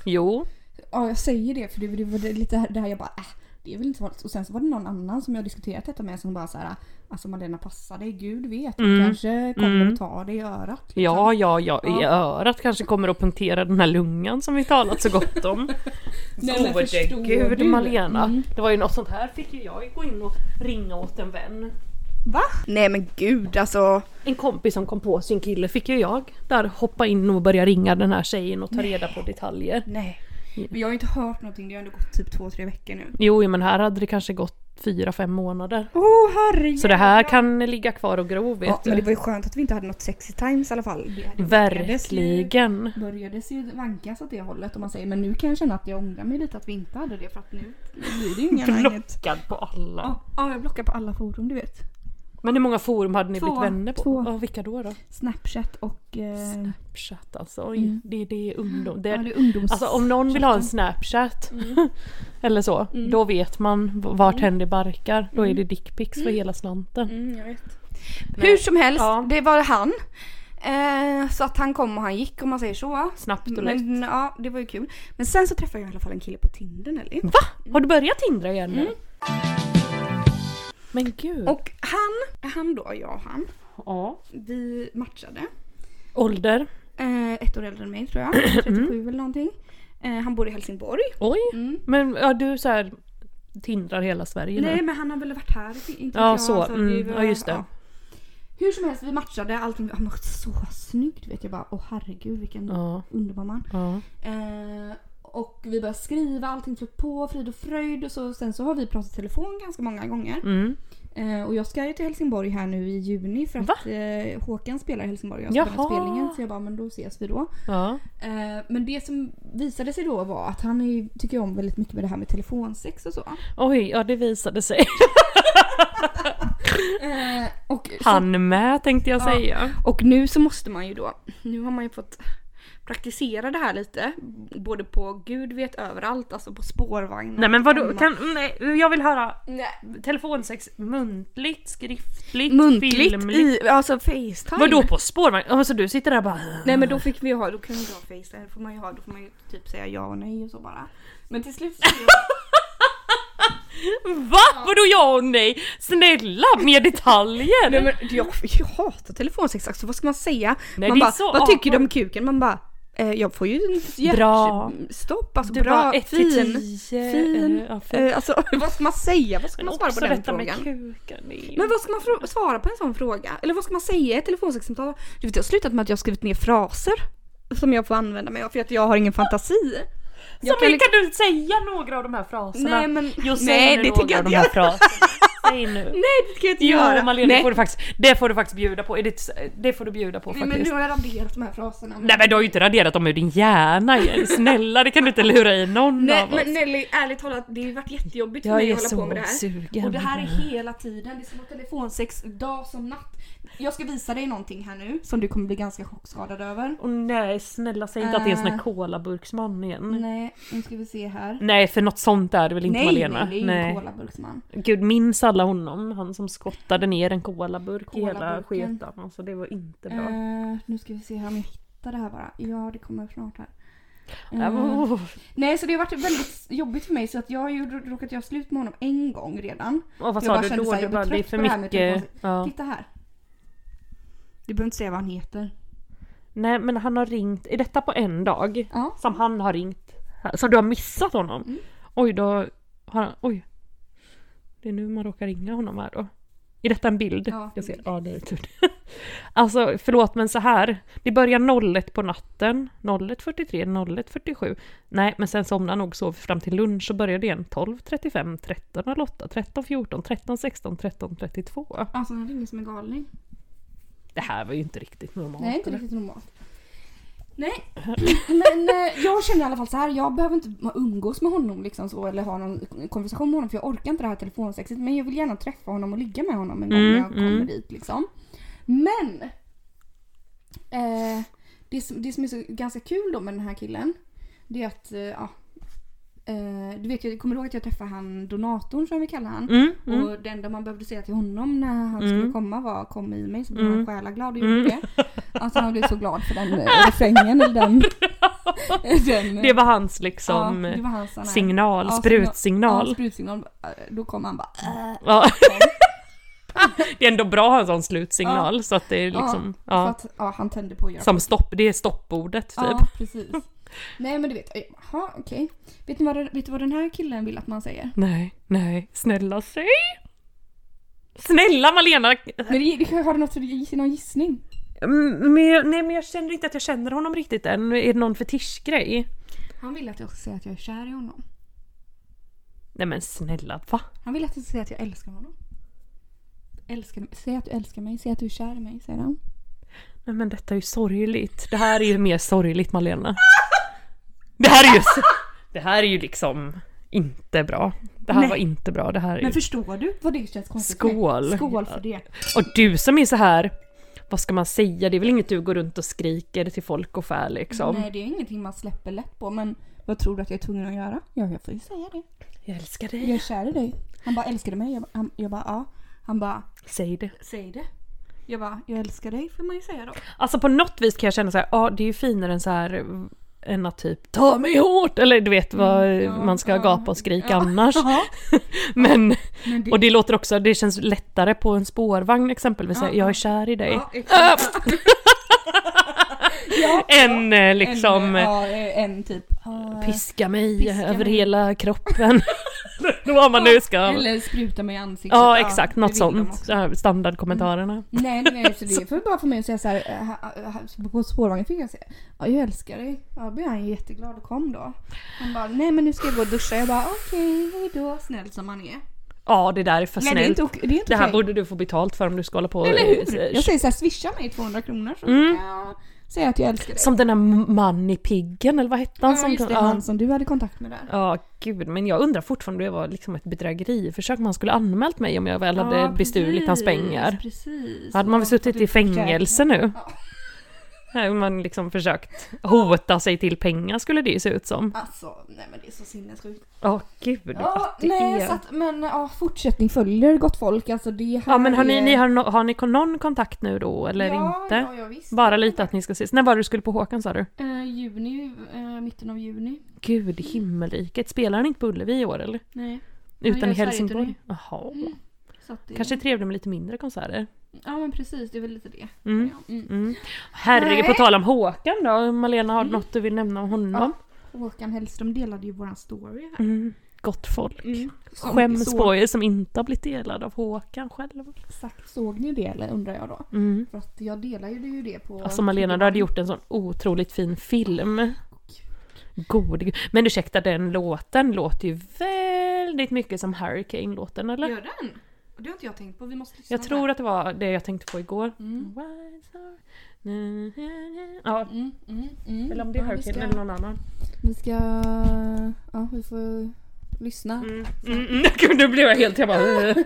Jo. Ja, jag säger det för det, det var det- lite här- det här jag bara äh, det är väl inte så farligt. Och sen så var det någon annan som jag diskuterat detta med som bara så här, alltså Malena passa dig, gud vet, hon Mm. kanske kommer Mm. och tar dig i örat. liksom." Ja, ja, ja. I Ja. örat kanske kommer att punktera den här lungan som vi talat så gott om. Nej, men Gode förstår gud du? Malena. Mm. Det var ju något sånt här fick ju jag gå in och ringa åt en vän. Liksom. Va? Nej men gud alltså. En kompis som kom på sin kille fick ju jag där hoppa in och börja ringa den här tjejen och ta reda på detaljer. Nej. Men jag har inte hört någonting, det har ändå gått typ två, tre veckor nu. Jo, jo, men här hade det kanske gått fyra, fem månader. Åh oh, herregud. Så det här kan ligga kvar och gro vet Ja, men du. det var ju skönt att vi inte hade något sexy times i alla fall. Det hade- Verkligen. Det börjades ju vankas åt det hållet om man säger men nu kan jag känna att jag ångrar mig lite att vi inte hade det för att nu blir det ju inga inget. Blockad på alla. Ja, ja, jag blockar på alla forum du vet. Men hur många forum hade ni Två. blivit vänner på? Två. Ja, vilka då? då? Snapchat och... Eh, Snapchat alltså. Oj, Mm. Det, det är ungdom. ja, Det, det Mm. är ungdoms... alltså om någon vill ha en Snapchat eller så, Mm. då vet man v- vart hen det barkar. Då är det dickpics för hela slanten. Mm, jag vet. Hur som helst, Ja. det var han. Eh, så att han kom och han gick om man säger så. Snabbt och lätt. Men, ja, det var ju kul. Men sen så träffade jag i alla fall en kille på Tinder Nelly. Va? Har du börjat Tindra igen nu? Men gud. Och han, han då, jag och han, ja. vi matchade. Ålder? Eh, ett år äldre än mig tror jag, Mm. 37 eller någonting. Eh, han bor i Helsingborg. Oj. Mm. Men ja, du så här tindrar hela Sverige Nej nu? men han har väl varit här, inte vet Ja, jag, så. alltså, Mm, det var- ja, just det. Hur som helst, vi matchade allting. Han var så snyggt vet jag bara. Åh herregud vilken Ja. underbar man. ja. Eh, och vi började skriva, allting flöt på, frid och fröjd. Och så, sen så har vi pratat i telefon ganska många gånger. Mm. Eh, och jag ska ju till Helsingborg här nu i juni för Va? att eh, Håkan spelar i Helsingborg och jag spelar Jaha. spelningen. Så jag bara, men då ses vi då. ja. Eh, men det som visade sig då var att han är, ju- tycker ju om väldigt mycket med det här med telefonsex och så. Oj, ja det visade sig. Eh, och, Han med tänkte jag Ja. säga. och nu så måste man ju då, nu har man ju fått praktisera det här lite. Både på gud vet överallt, alltså på spårvagnar. Nej men vadå, hemma. kan, nej, jag vill höra Nej, telefonsex muntligt, skriftligt, Muntligt filmligt. i, alltså facetime. Vadå på spårvagn? Alltså du sitter där och bara... Nej men då fick vi ju ha, då kunde vi ha facetime, får man ju ha, då får man ju typ säga ja och nej och så bara. Men till slut så... Va? Vadå ja och nej? Snälla, mer detaljer! nej men jag, jag hatar telefonsex alltså, vad ska man säga? Nej, man det är bara, så vad tycker du om awkward." kuken? Man bara, eh, jag får ju en Bra. hjärtstopp, alltså du bra, bara ett till fin, tio, fin. eh, Ja, fin. Eh, alltså vad ska man säga? Vad ska Men man svara också på den detta med frågan? kuken. det är ju- Men vad ska man frå- svara på en sån fråga? Eller vad ska man säga i ett telefonsexsamtal? Du vet jag har slutat med att jag har skrivit ner fraser. som jag får använda mig av för att jag har ingen fantasi. Jag kan Som kan, liksom- du säga några av de här fraserna? Nej, men- Jo, säg Nej, nu det några tycker jag av inte de här jag- fraserna. Säg nu. Nej det ska jag inte Jo göra. Malin, det Nej. får, du faktiskt, det får du faktiskt bjuda på. Är Det, det får du bjuda på Nej faktiskt. men nu har jag raderat de här fraserna. Nej men du har ju inte raderat dem ur din hjärna igen. Snälla, det kan du inte lura i någon Nej av oss. men Nelly, ärligt talat det har ju varit jättejobbigt för jag mig är att hålla på med det så här. sugen. Och det här är hela tiden, det är som att telefonsex dag som natt. Jag ska visa dig någonting här nu som du kommer bli ganska chockskadad över. Åh, nej, snälla säg inte att det är en sån här Äh. colaburksman igen. Nej. Nej, eh, nu ska vi se här. för något sånt är det väl inte nej, nej, Malena? det är ju en colaburksman. Gud, minns alla honom? Han som skottade ner en colaburk i hela Colaburken. sketan. Alltså det var inte bra. Eh, nu ska vi se här om jag hittar det här bara. Ja, det kommer snart här. Ja, Eh, men, åh, Nej, så det har varit väldigt jobbigt för mig så att jag har ju rå- råkat göra slut med honom en gång redan. åh, vad jag sa bara du kände då? så här, Du jag bara, blir det är trött för på det här med typ mycket. telefonsex. Ja. Titta här. Du behöver inte säga vad han heter. Nej men han har ringt, är detta på en dag? Ja. Som han har ringt? Som du har missat honom? Mm. Oj då har han, oj. Det är nu man råkar ringa honom här då. Är detta en bild? Ja, jag ser. ja det är tur. alltså förlåt men så här. Det börjar 01 på natten. 01.43, 01.47. Nej men sen somnar han nog sov fram till lunch och börjar det igen 12.35, 13.08, 13.14, 13.16, 13.32. Alltså han ringer som en galning. Det här var ju inte riktigt normalt. Nej, inte eller? riktigt normalt. Nej, men eh, jag känner i alla fall så här. Jag behöver inte ma- umgås med honom liksom så eller ha någon konversation med honom för jag orkar inte det här telefonsexet. Men jag vill gärna träffa honom och ligga med honom en gång när Mm, jag kommer mm. dit liksom. Men! Eh, det, som, det som är så ganska kul då med den här killen det är att, eh, ja. Eh, du vet, jag kommer du ihåg att jag träffade han donatorn som vi kallar han. Mm, mm. Och det enda man behövde säga till honom när han skulle komma var kom i mig så blev han själaglad och gjorde det. Alltså han blev så glad för den eh, refrängen eller den... den Det var hans liksom det var hans sån här- signal, Ja, sprutsignal. Ja, sprutsignal. Eh, Då kom han bara... Äh, Ja. det är ändå bra att ha en sån slutsignal så att det är liksom, ja, för ja. att, ja, han tände på att göra Som stopp, det är stoppordet typ. Ja, precis. Nej men du vet, eh, jaha okej. Vet, ni vad den- vet du vad den här killen vill att man säger? Nej, nej, snälla säg! Snälla Malena! Men det, det- har du något, någon gissning? Mm, Men jag, nej men jag känner inte att jag känner honom riktigt än. Är det någon fetischgrej? Han vill att jag ska säga att jag är kär i honom. Nej men snälla, va? Han vill att jag ska säga att jag älskar honom. Älskar, säg att du älskar mig, säg att du är kär i mig, säger han. Nej men detta är ju sorgligt. Det här är ju mer sorgligt Malena. Det här är ju, s- det här är ju liksom inte bra. Det här Nej. var inte bra. Det här är ju... Men förstår du vad det känns konstigt Skål. Med? Skål för det. Och du som är så här, vad ska man säga? Det är väl inget du går runt och skriker till folk och fär liksom? Nej, det är ingenting man släpper lätt på men vad tror du att jag är tvungen att göra? Ja, jag får ju säga det. Jag älskar Jag dig. är kär i dig. Han bara, älskar du mig? Jag bara, han, jag bara ja. Han bara, Säg det. säg det. Jag bara, jag älskar dig får man ju säga då. Alltså på något vis kan jag känna så här, ja det är ju finare än så här än att typ ta mig hårt eller du vet vad Eh, man ska ja, gapa och skrika Mm. ja. annars. Ja. Men, Men det- och det låter också, det känns lättare på en spårvagn exempelvis, så här, Ja, jag är ja. kär i dig. Ja, exakt. ja. Än eh, liksom en, ja, en typ. ja, piska mig piska över mig. hela kroppen. Eller vad man nu ska. Eller spruta mig i ansiktet. Ja exakt, det något vill de sånt. också. Så här, Standardkommentarerna. Nej, nej, så det är för bara för mig att säga så här, eh, ha- ha- på spårvagnen fick jag säga ja, jag älskar dig. Ja, då blev han jätteglad och kom då. Han bara, nej men nu ska jag gå och duscha. Jag bara, okej, hejdå. Snäll som han är. Ja det där är för Nej, det är snällt. inte, ok- det är inte Det här okej. borde du få betalt för om du ska hålla på och- Eller hur? eh, Jag säger så här, swisha mig 200 kronor så Mm. kan jag säga att jag älskar dig. Som den här mannen i piggen eller vad hette han? ja, som just kom- det, han som du hade kontakt med där. Ja, gud. Men jag undrar fortfarande om det var liksom ett bedrägeriförsök man skulle anmält mig om jag väl hade Ja, bestulit hans precis, pengar. Precis. Hade man väl suttit i fängelse nu? Ja. Här har man liksom försökt hota sig till pengar skulle det ju se ut som. Alltså, nej men det är så sinnessjukt. Ja, gud Ja, att det nej, är. så att, men ja, fortsättning följer gott folk. Alltså det här Ja men har ni, är- ni har, no- har ni kon- någon kontakt nu då eller ja, inte? Ja, ja, visst. Bara lite att ni ska ses. När var det du skulle på Håkan sa du? Eh, juni, eh, mitten av juni. Mm. Gud i himmelriket, spelar han inte på Ullevi i år eller? Nej. Han Utan gör i Helsingborg? Sverigeturné. Jaha. Så att det, Kanske trevligt med lite mindre konserter. Ja men precis, det är väl lite det. Mm. Ja, mm. Mm. Herregud, Nej. Mm. på tal om Håkan Mm. då. Malena, har du något du vill nämna om honom? Håkan Hellström delade ju våran story här. Mm. gott folk. Mm. Som- Skäms så- Mm. på er som inte har blivit delad av Håkan själv. Exakt, såg ni det eller undrar jag då? Mm. För att jag delar ju det, ju det på... Alltså Malena, du hade gjort en sån otroligt fin film. God gud. Men ursäkta, den låten låter ju väldigt mycket som Hurricane-låten eller? Gör den? Det har inte jag tänkt på, vi måste lyssna Jag tror att det var det jag tänkte på igår. Mm. Wise are- na, na, na. Ja, Mm, mm, mm. eller om det är Ja, vi Hurricane ska- eller någon annan. Vi ska... Ja, vi får lyssna. Mm. Mm, mm. Gud, nu blev jag helt... Jag bara... eh.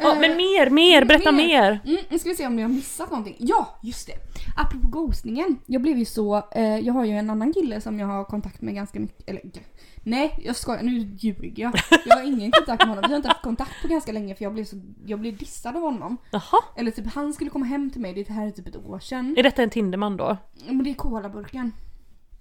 ja, men mer, mer! Berätta Mer. mer! Mm, nu ska vi se om jag har missat någonting. Ja, just det! Apropå ghostningen. Jag blev ju så... Eh, jag har ju en annan kille som jag har kontakt med ganska mycket. Eller g- nej, jag skojar. Nu ljuger jag. Jag har ingen kontakt med honom. Vi har inte haft kontakt på ganska länge för jag blev, så, jag blev dissad av honom. Jaha, Eller typ han skulle komma hem till mig. Det här är typ ett år sedan. är detta en Tinderman då? Men det är colaburken.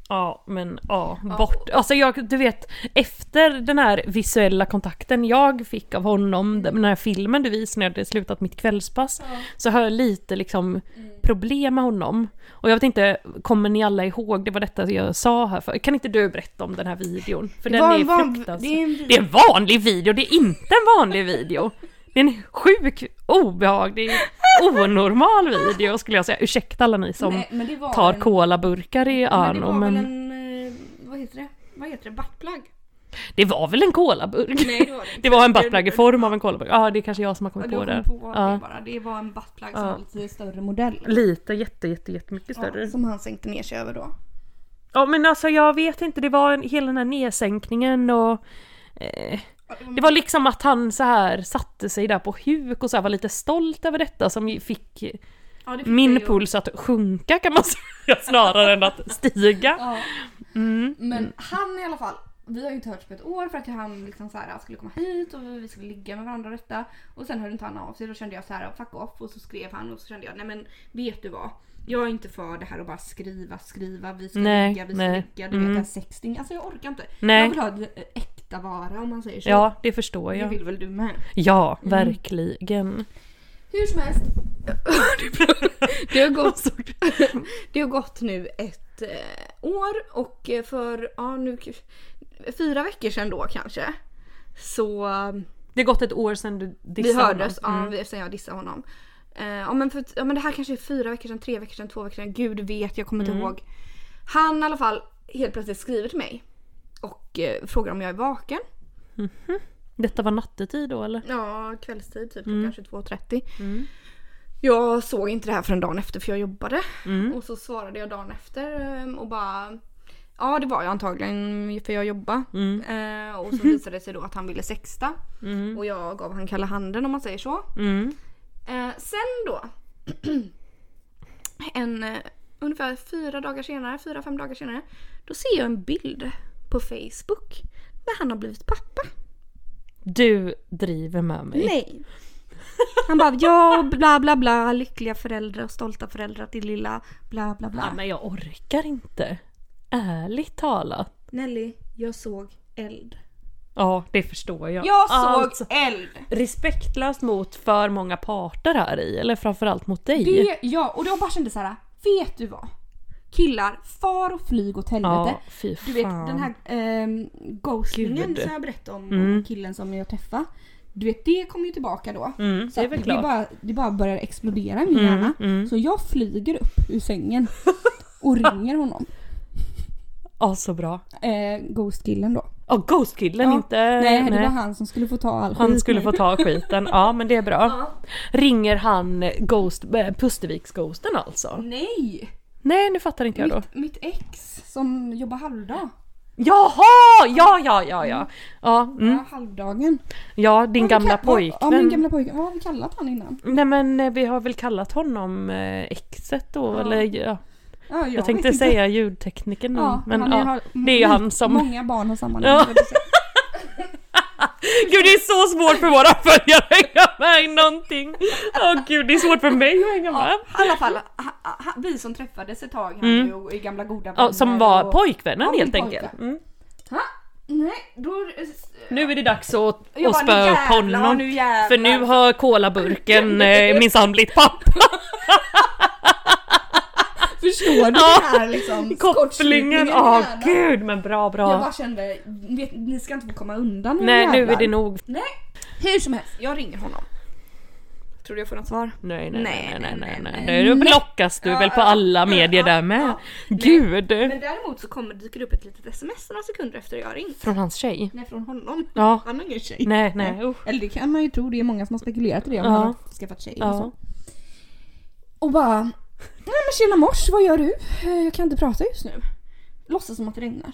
Ja, men ja, bort. Alltså jag, du vet, efter den här visuella kontakten jag fick av honom, den här filmen du visade när jag hade slutat mitt kvällspass, så har jag lite liksom Mm. problem med honom. Och jag vet inte, kommer ni alla ihåg, det var detta jag sa här för. Kan inte du berätta om den här videon? För den var är en van- fruktansvärd. det är en- det är en vanlig video, det är inte en vanlig video. Det är en sjuk, obehaglig, onormal video skulle jag säga. Ursäkta alla ni som Nej, men det var tar en- kolaburkar i Men Arno. det var väl en... eh, Vad heter det? Vad heter det? Buttplug? Det var väl en colaburk? Nej, det var det inte. Det var en buttplug i form av en colaburk. Ja, det är kanske jag som har kommit Du på har det. kommit på det Ja. bara. Det var en buttplug som Ja. var lite större modell. Lite, jätte, jätte, jättemycket större. Ja, som han sänkte ner sig över då. men alltså jag vet inte, det var en, hela den här nedsänkningen och... Eh, det var liksom att han så här satte sig där på huk och så här var lite stolt över detta som ju fick Ja, det fick min jag ju. puls att sjunka kan man säga snarare än att stiga. Ja. Mm. Men han i alla fall. Vi har ju inte hörts på ett år för att han liksom så här, han skulle komma hit och vi skulle ligga med varandra och detta. Och sen hörde inte han av sig. Då kände jag så här fuck off och så skrev han och så kände jag nej men vet du vad. Jag är inte för det här att bara skriva, skriva, vi ska Nej, ligga, vi ska nej. ligga, du Mm. vet en sexting. Alltså jag orkar inte. Nej. Jag vill ha det äkta vara om man säger så. Ja, det förstår Det Mm. jag. vill väl du med? Ja, verkligen. Hur som helst. det, har gått, det har gått nu ett eh, år och eh, för ja, nu, k- fyra veckor sedan då kanske. Så eh, Det har gått ett år sedan du vi dissade hördes honom. Mm. ja, vi- sen jag dissade honom. Eh, ja, men för, ja men det här kanske är fyra veckor sedan, tre veckor sedan, två veckor sedan. Gud vet, jag kommer inte Mm. ihåg. Han i alla fall helt plötsligt skriver till mig och eh, frågar om jag är vaken. Detta var nattetid då eller? Ja, kvällstid typ klockan 22.30. Jag såg inte det här förrän dagen efter för jag jobbade. Och så svarade jag dagen efter eh, och bara Ja det var jag antagligen för jag jobbade. Eh, och så visade det sig då att han ville sexta. Och jag gav han kalla handen om man säger så. Mm. Eh, sen då. en, eh, ungefär fyra dagar senare, fyra fem dagar senare. Då ser jag en bild på Facebook. Där han har blivit pappa. Du driver med mig. Nej. Han bara ja, bla bla bla, lyckliga föräldrar och stolta föräldrar till lilla bla bla Ja, bla. men jag orkar inte. Ärligt talat. Nelly, jag såg eld. Ja, det förstår jag. Jag såg Alltså, eld! respektlöst mot för många parter här i, eller framförallt mot dig. Det, ja, och jag bara kände så här, vet du vad? Killar, far och flyg åt helvete. ja, fy fan. Du vet den här ehm, ghostingen Gud. som jag berättade om, Mm. om killen som jag träffade. Du vet det kom ju tillbaka då. Mm, Så det är att väl det, klart. bara, det bara börjar explodera i min hjärna. mm. Så jag flyger upp ur sängen och ringer honom. Ja, så bra. Eh, Ghost-killen då. Ja, Ghostkillen Ja. inte... Nej, det var han som skulle få ta all Han skit skulle nu. få ta skiten. Ja, men det är bra. Ringer han Ghost, eh, Pusterviks-ghosten alltså? Nej! Nej, nu fattar inte jag då. Mitt, mitt ex som jobbar halvdag. Jaha! Ja, ja, ja, ja. Ja, mm. Ja, halvdagen. ja din Vad gamla vi kall- vad- Ja, min pojkvän. gamla pojkvän. Vad har vi kallat han innan? Nej men eh, vi har väl kallat honom eh, exet då, Ja. eller ja. Ja, jag, Jag, tänkte vet inte. säga ljudtekniken Ja, men han ja. har- det är ju han som... Många barn har samma namn. Ja. vill jag säga. Gud det är så svårt för våra följare att hänga med i någonting! Åh gud det är svårt för mig att hänga med! I alla fall, ha, ha, vi som träffades ett tag här Mm. nu och är gamla goda vänner. Ja, som var och- pojkvännen Ja, min helt pojkvän. enkelt. Mm. Ha? Nej, då... Nu är det dags att, Jag att bara, spöa upp jävlar, honom. nu jävlar. För nu har kolaburken eh, minsann blivit pappa. Förstår du Ja. den här liksom Kopplingen, i åh hjärnan? gud men bra Jag bra. bara kände, vet, ni ska inte få komma undan era Nej nu är jävlar. det nog. Nej, hur som helst. Jag ringer honom. Tror du jag får något svar? Nej nej nej Nej, nej nej. nej, nej. nej. Nu blockas du Ja, väl på ja, alla medier ja, där med. ja. Gud! Men däremot så kommer dyker det upp ett litet sms några sekunder efter jag har ringt. Från hans tjej. Nej, från honom. Ja. Han har ingen tjej. Nej nej usch. Eller det kan man ju tro, det är många som har spekulerat i det om Ja. han har skaffat tjej och Ja. så. Och bara, nej men tjena mors, vad gör du? Eh, Jag kan inte prata just nu. Låtsas som att det regnar.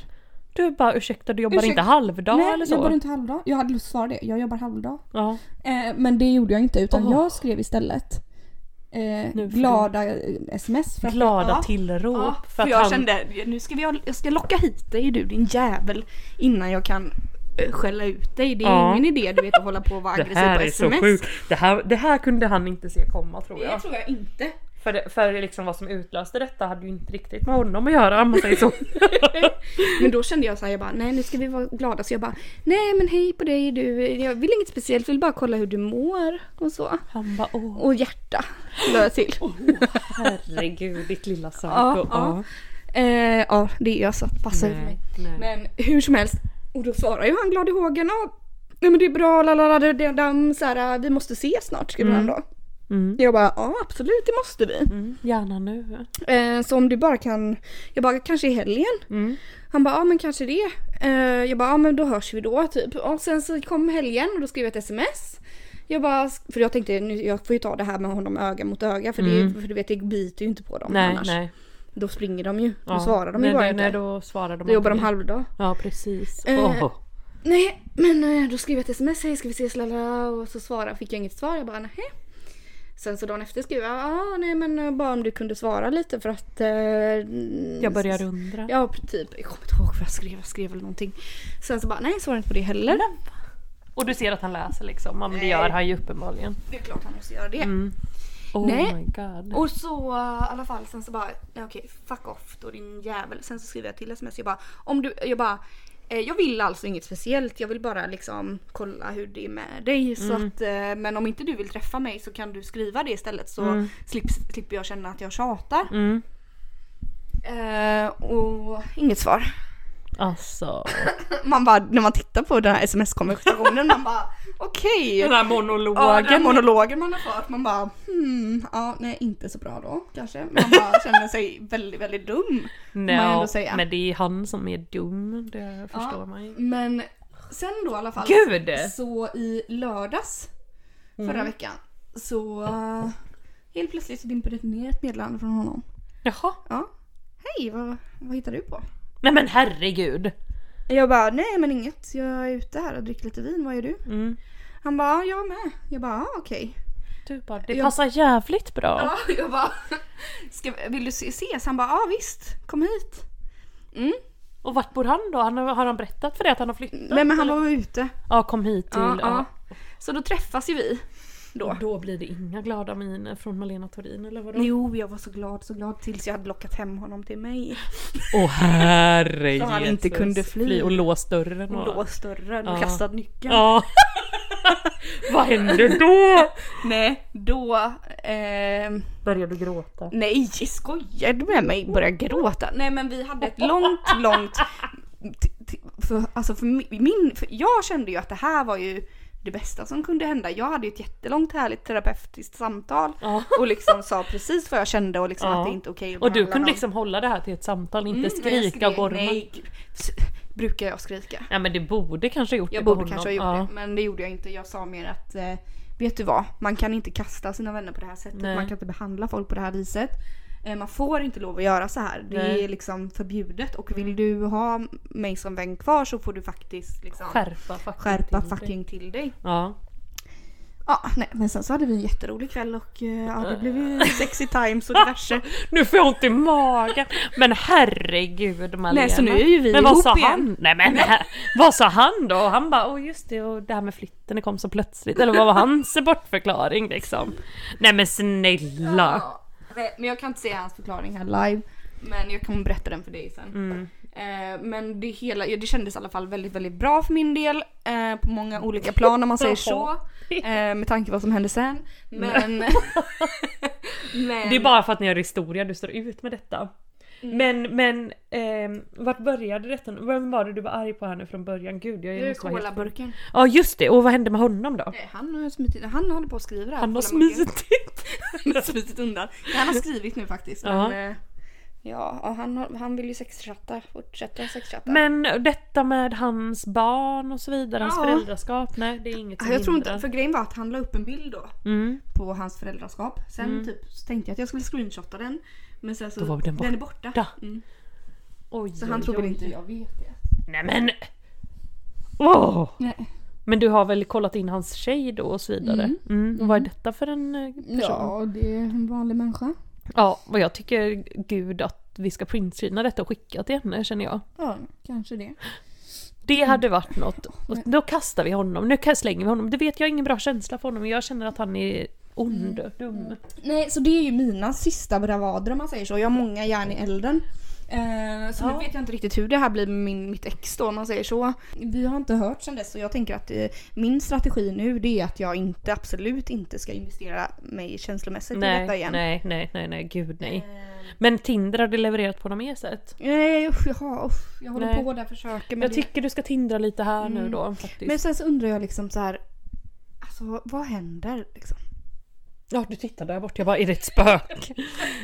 Du bara ursäkta du jobbar Ursäkta. inte halvdag nej, eller jag så? jobbar inte halvdag. Jag hade lust att svara det, jag jobbar halvdag. Ja. Eh, men det gjorde jag inte utan Åh. jag skrev istället eh, får du- glada eh, sms. För att Glada Ja. tillrop. Ja, för för att jag han... kände, nu ska vi, ha- jag ska locka hit dig du din jävel innan jag kan eh, skälla ut dig. Det är Ja. ingen idé du vet att hålla på och vara Det aggressiv här på är så sms. sjukt. Det här, det här kunde han inte se komma tror jag. Det tror jag inte. För, det, för liksom vad som utlöste detta hade ju inte riktigt med honom att göra om man säger så. Men då kände jag så här, jag bara nej nu ska vi vara glada så jag bara nej men hej på dig du, jag vill inget speciellt, vill bara kolla hur du mår och så. Han bara åh Och hjärta la jag till. herregud ditt lilla psyko. Ja, ja. Eh, ja det är jag så att passa över mig. Men hur som helst, och då svarar ju han glad i hågen och nej men det är bra, lalala, det, det, det, så här, vi måste ses snart skriver han då. Mm. Jag bara ja absolut det måste vi. Mm, gärna nu. Eh, så om du bara kan, jag bara kanske i helgen. Mm. Han bara ja men kanske det. Eh, jag bara ja men då hörs vi då typ. Och sen så kom helgen och då skrev jag ett sms. Jag bara, för jag tänkte nu, jag får ju ta det här med honom öga mot öga för, det, för du vet det biter ju inte på dem Mm. Nej, annars. nej. Då springer de ju. Då Ja. svarar de nej, ju bara nej, inte. nej, då då svarar de jobbar de aldrig. halvdag. Ja precis. Eh, Åh. Nej, men eh, då skrev jag ett sms, hej ska vi ses lalala och så svara, fick jag inget svar, jag bara nej. Sen så dagen efter skrev jag, ja nej men eh, bara om du kunde svara lite för att... Eh, mm, Jag börjar undra. Ja p- typ, jag kommer inte ihåg vad jag skrev, jag skrev väl någonting. Sen så bara, nej jag svarar inte på det heller. Mm. Och du ser att han läser liksom. Ja, men det gör han ju uppenbarligen. Det är klart han måste göra det. Oh Nej. my god. Och så eh, i alla fall sen så bara nej, okej fuck off då din jävel. Sen så skriver jag till sms jag bara om du, jag bara eh, jag vill alltså inget speciellt jag vill bara liksom kolla hur det är med dig så att eh, men om inte du vill träffa mig så kan du skriva det istället så slipp, slipper jag känna att jag tjatar. Mm. Eh, och inget svar. Alltså. Man bara när man tittar på den här sms-konversationen man bara okej. Den här monologen. Ja, den här monologen man har fört, man bara hmm, ja nej inte så bra då kanske. Man bara känner sig väldigt, väldigt dum. Nej, man ja, ändå säga. Men det är han som är dum. Det förstår man ju. Men sen då i alla fall Gud! Mm. så i lördags förra veckan så eh, helt plötsligt så dimper det ner ett meddelande från honom. Jaha. Ja. Hej, vad, vad hittar du på? Nej men herregud. Jag bara nej men inget, jag är ute här och dricker lite vin, vad gör du? Mm. Han bara ja, jag med. Jag bara ah, okej. Du bara, det Jag- passar jävligt bra. Ja, jag bara Ska, vill du se- ses? Han bara ja ah, visst, kom hit. Mm. Och vart bor han då? Han, har har han berättat för dig att han har flyttat? Nej men han eller? var ute. Ja kom hit till... Ja, ja. Ja, Så då träffas ju vi. Då. Då blir det inga glada miner från Malena Torin eller vadå? Mm. Jo, jag var så glad, så glad tills jag hade lockat hem honom till mig. Åh herre Så han inte Jesus. kunde fly. Och lås dörren Och och... låst dörren och Ja. kastat nyckeln. Ja. Vad hände då? Nej, då... ehm, Började du gråta? nej, skojar du med mig? Började gråta. Nej, men vi hade ett långt, långt... t- t- För, alltså för mi- min... För jag kände ju att det här var ju det bästa som kunde hända. Jag hade ju ett jättelångt härligt terapeutiskt samtal Ja. och liksom sa precis vad jag kände och liksom Ja. att det inte är okej att Och du behandla kunde någon. liksom hålla det här till ett samtal, inte Mm, men jag skrika och skrek, gorma. Nej. Nej, gud. S- brukar jag skrika? Ja men det borde kanske gjort Jag det på borde honom. kanske ha gjort ja. det, men det gjorde jag inte. Jag sa mer att eh, vet du vad, man kan inte kasta sina vänner på det här sättet. Nej. Man kan inte behandla folk på det här viset. Eh, man får inte lov att göra så här. Det Nej. är liksom förbjudet och vill du ha mig som vän kvar så får du faktiskt liksom Skärpa fucking skärpa till dig. fucking till dig. Ja. Ja, nej, men sen så hade vi en jätterolig kväll och eh, ja, det blev ju sexy times och diverse. Nu får jag ont i magen! Men herregud Malena. Nej, så nu är ju vi Men vad ihop sa igen. han? Nej men här, vad sa han då? Och Han bara åh just det och det här med flytten det kom så plötsligt. Eller vad var hans bortförklaring liksom? Nej men snälla! Ja, nej, men jag kan inte se hans förklaring här live. Men jag kommer berätta den för dig sen. Mm. Eh, men det, hela, ja, det kändes i alla fall väldigt, väldigt bra för min del. Eh, på många olika plan om man säger så. Eh, med tanke på vad som hände sen. Men, Men... Det är bara för att ni gör historia du står ut med detta. Mm. Men, men ehm, vart började detta? nu? Vem var det du var arg på här nu från början? Gud, jag Nu måste vara helt- burken. Ja just det, och vad hände med honom då? Eh, Han, har smitit, han håller på att skriva det här. Han har Kolaburken. smitit! Han har smitit undan. Han har skrivit nu faktiskt. Ja. Men, eh, ja, och han, har- han vill ju sexchatta. Fortsätta sexchatta. Men detta med hans barn och så vidare, hans Ja. föräldraskap, nej det är inget som jag tror hindrar. inte, för grejen var att han la upp en bild då Mm. på hans föräldraskap. Sen typ så tänkte jag att jag skulle screenshotta den. Men sen så, Då var den den är borta. borta. Mm. Oj, Så han oj, tror väl oj. inte jag vet det. Nej men! Åh! Nej. Men du har väl kollat in hans tjej då och så vidare? Mm. Vad är detta för en eh, person? Ja. det är en vanlig människa. ja, och jag tycker gud att vi ska printscreena detta och skicka till henne känner jag. Ja, kanske det. Det Mm. hade varit något. Och då kastar vi honom, nu ka- slänger vi honom. Det vet jag har ingen bra känsla för honom, jag känner att han är ond, Mm. dum. Nej, så det är ju mina sista bravader om man säger så. Jag har många järn i elden. Eh, så nu vet jag inte riktigt hur det här blir med min, mitt ex då om man säger så. Vi har inte hört sen dess så jag tänker att eh, min strategi nu det är att jag inte, absolut inte ska investera mig känslomässigt i detta Nej, igen. Ehm. nej, nej, nej, nej, gud nej. Men Tinder hade levererat på något mer sätt. Nej, usch, jaha, usch, jag håller Nej. på där försöker men Jag det- Mm. tycker du ska tindra lite här nu då faktiskt. Men sen så undrar jag liksom så här. Alltså vad händer liksom? Ja du tittar där bort, jag bara är det ett spök?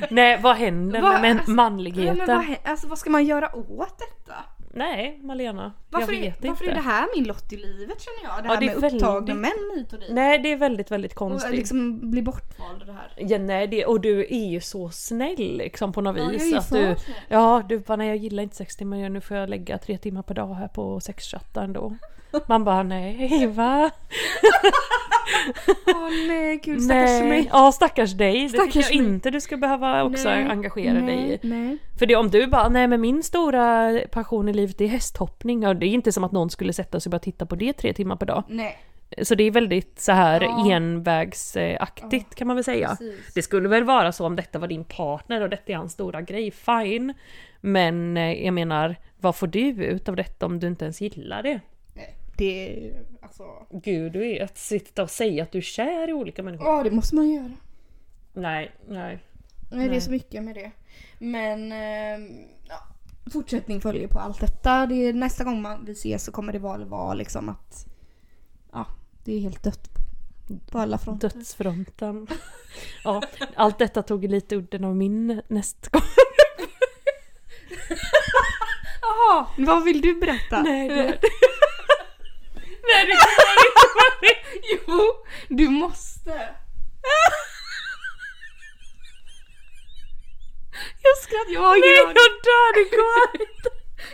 Nej vad händer Vad- med alltså- Ja, manligheten? men vad, hä- alltså, vad ska man göra åt detta? Nej Malena, Varför, jag vet är, varför inte. är det här min lott i livet känner jag? Det Ja, här det är med upptagna väldigt- män hit och dit. Nej det är väldigt väldigt Och konstigt. liksom bli bortvald och det här. Ja, nej, det, och du är ju så snäll liksom på något jag vis. är ju att så du, snäll. ja du bara nej jag gillar inte sex timmar nu får jag lägga tre timmar per dag här på sexchatten då. Man bara nej va? Åh nej gud nej. Ja stackars dig, det tycker Stackars jag mig. inte du ska behöva också Nej, engagera dig i. Nej. För det, om du bara, nej men min stora passion i livet det är hästhoppning. Ja, det är inte som att någon skulle sätta sig och bara titta på det tre timmar per dag. Nej. Så det är väldigt så här Ja. envägsaktigt kan man väl säga. Precis. Det skulle väl vara så om detta var din partner och detta är hans stora grej, fine. Men eh, jag menar, vad får du ut av detta om du inte ens gillar det? nej. Det är alltså... Gud vet, sitta och säga att du är kär i olika människor. Ja det måste man göra. Nej, nej. Nej, det är så mycket med det. Men ehm, ja, fortsättning följer på allt detta. Det är, nästa gång man, vi ses så kommer det vara, vara liksom att ja, det är helt dött på alla fronter. Dödsfronten. ja, allt detta tog lite udden av min nästgång. Jaha, vad vill du berätta? Eh. Nej, det- Nej, det kan inte Jo, du måste. Jag skrattar, jag har Nej ingen jag aning. dör, det går inte!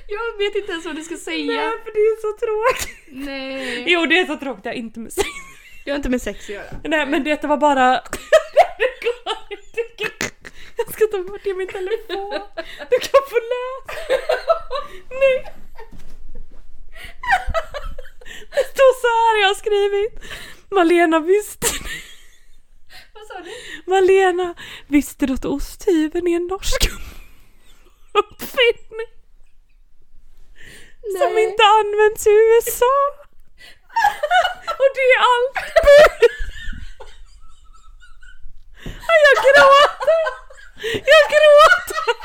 Jag vet inte ens vad du ska säga. Nej för det är så tråkigt. Nej. Jo det är så tråkigt, det har inte med sex Det har inte med sex att göra. Nej men detta var bara... det går inte. Jag ska ta bort det i min telefon. Du kan få läsa. Nej. Det står så här jag har skrivit. Malena visste... Vad sa du? Malena visste du att osthyveln är en norsk uppfinning? Som Nej. inte används i USA. Och det är allt. Ja, Jag gråter. Jag gråter.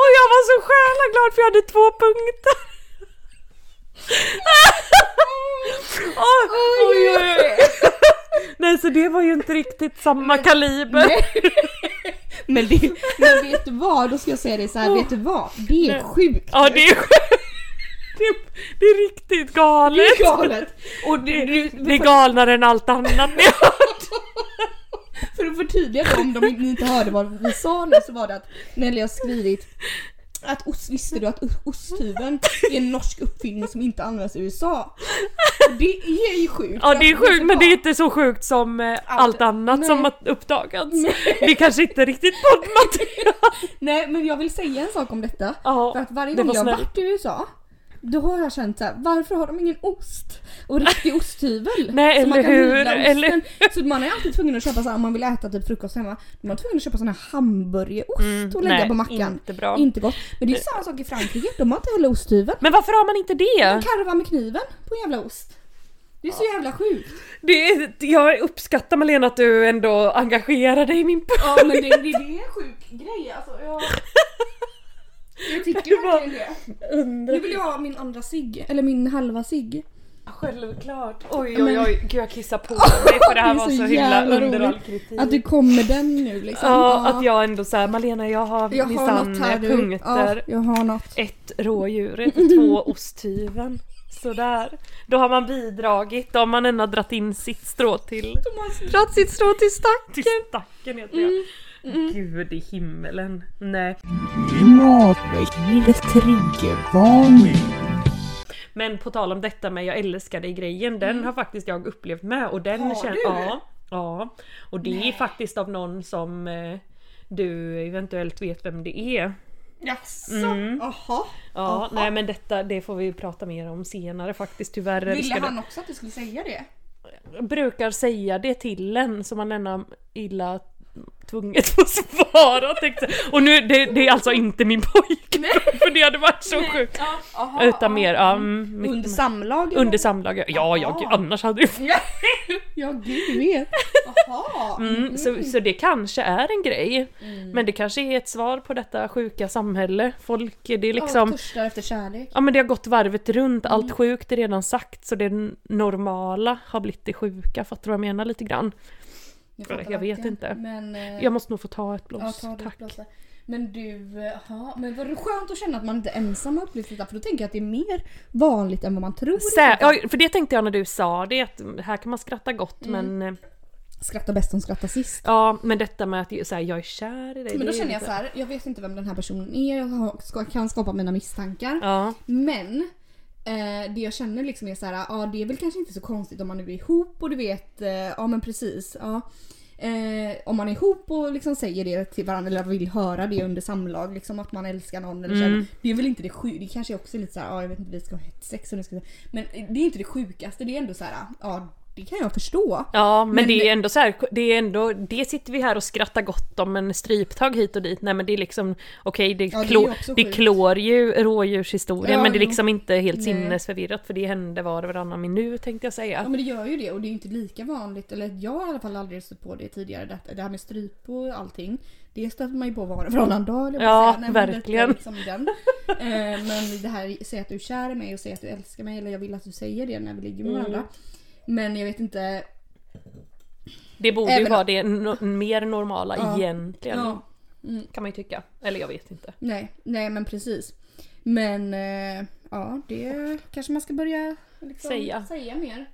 Och jag var så själaglad för jag hade två punkter. Oj, oj, oj, oj. Nej så det var ju inte riktigt samma kaliber. Men, det, men vet du vad? Då ska jag säga dig så här, vet du vad? Det är sjukt. Ja det är det, det är riktigt galet. Det är galet. Och det, det är galnare än allt annat ni har. För att förtydliga då, om de inte- ni inte hörde vad vi sa nu så var det att Nelly har skrivit att ost, visste du att o- osthyveln är en norsk uppfinning som inte används i USA? Det är ju sjukt. Ja det är Alltså, sjukt men det är inte så sjukt som eh, allt annat nej. som har uppdagats. Det är kanske inte riktigt poddmaterial. Nej men jag vill säga en sak om detta. Ja, för att varje det gång var jag har snällt. varit i USA då har jag känt såhär, varför har de ingen ost? Och riktig osthyvel. Nej, så man eller kan hur, hyvla osten. eller- Så man är alltid tvungen att köpa såhär, om man vill äta typ frukost hemma, man är tvungen att köpa sån här hamburgerost och lägga nej, på mackan. inte bra. Inte gott. Men det är ju samma sak i Frankrike, de har inte heller osthyvel. Men varför har man inte det? De karvar med kniven på en jävla ost. Det är så jävla sjukt. Det är, jag uppskattar Malena att du ändå engagerar dig i min podd. Ja men det, det, det är en sjuk grej alltså. Jag, jag tycker bara- verkligen det. nu vill jag ha min andra cigg, eller min halva cigg. Självklart. Oj oj oj, gud jag kissar på mig för det här Det är var så, så himla jävla under all roligt. kritik. Att du kommer den nu liksom. Ja, att jag ändå såhär, Malena jag har Jag har minsann något här du. punkter. Ja, jag har något. Ett rådjuret, Mm. två osthyveln. Sådär. Då har man bidragit, då har man ändå dragit in sitt strå till, Dragit sitt strå till stack. till stacken heter det. Mm. Gud i himmelen. Nej. Klimatväckningens triggervarning. Men på tal om detta med jag älskar dig-grejen, den har faktiskt jag upplevt med. Och den har Mm. du? Ja, ja. Och det är faktiskt av någon som eh, du eventuellt vet vem det är. Jaså? Mm. Jaha. Ja, nej men detta det får vi ju prata mer om senare faktiskt tyvärr. Ville älskade- han också att du skulle säga det? brukar säga det till en som man ändå illa tvunget får svara tänkte jag. Och nu, det, det är alltså inte min pojkvän för det hade varit så sjukt. Aha, Utan mer, ja, mm, Under under, samlag. under samlag. Ja, Ja, jag, gud, annars hade jag... Ja gud du vet. aha. Mm, så, så det kanske är en grej. Men det kanske är ett svar på detta sjuka samhälle. Folk, det är liksom... törstar efter kärlek. Ja men det har gått varvet runt, allt sjukt är redan sagt så det n- normala har blivit det sjuka, fattar du vad jag menar lite grann? Jag, Jag vet verkligen. inte. Men, eh, Jag måste nog få ta ett ja, blås, ta det tack. blåsa. Men du, eh, ja, men vad skönt att känna att man inte är ensam har upplevt detta för då tänker jag att det är mer vanligt än vad man tror. Liksom. Sä- ja, för det tänkte jag när du sa det, att här kan man skratta gott Mm. men... eh, Skratta bäst som skrattar sist. Ja, men detta med att ju- så här, jag är kär i Men dig. det då är känner jag lite- så här, jag vet inte vem den här personen är, jag har- ska, kan skapa mina misstankar. Ja. Men eh, det jag känner liksom är så här, ja det är väl kanske inte så konstigt om man nu är ihop och du vet, eh, ja men precis. Ja. Eh, om man är ihop och liksom säger det till varandra eller vill höra det under samlag, liksom att man älskar någon eller Mm. känner, Det är väl inte det sjuka, det kanske också är lite så här, ja jag vet inte vi ska ha ett sex och nu ska vi... Men det är inte det sjukaste, det är ändå så här, ja det kan jag förstå. Ja, men, Men- det är ändå så här, det är ändå, det sitter vi här och skrattar gott om men stryptag hit och dit, nej men det är liksom, okej det, Ja, det är klå, ju också det sjukt. klår ju rådjurshistorien Ja, men det är jo. liksom inte helt Nej. sinnesförvirrat för det hände var och varannan minut tänkte jag säga. Ja men det gör ju det och det är ju inte lika vanligt, eller jag har i alla fall aldrig stött på det tidigare, det, det här med stryp och allting. Det stöter man ju på var och varannan dag eller Ja, Nej, men det är verkligen. Liksom den. Eh, men det här, säg att du är kär i mig och säg att du älskar mig eller jag vill att du säger det när vi ligger med Mm. varandra. Men jag vet inte, det borde ju även- vara det no, mer normala Ja. egentligen. ja, Kan man ju tycka. Eller jag vet inte. nej, nej men precis. Men eh, ja, det kanske man ska börja liksom, Säga. säga mer.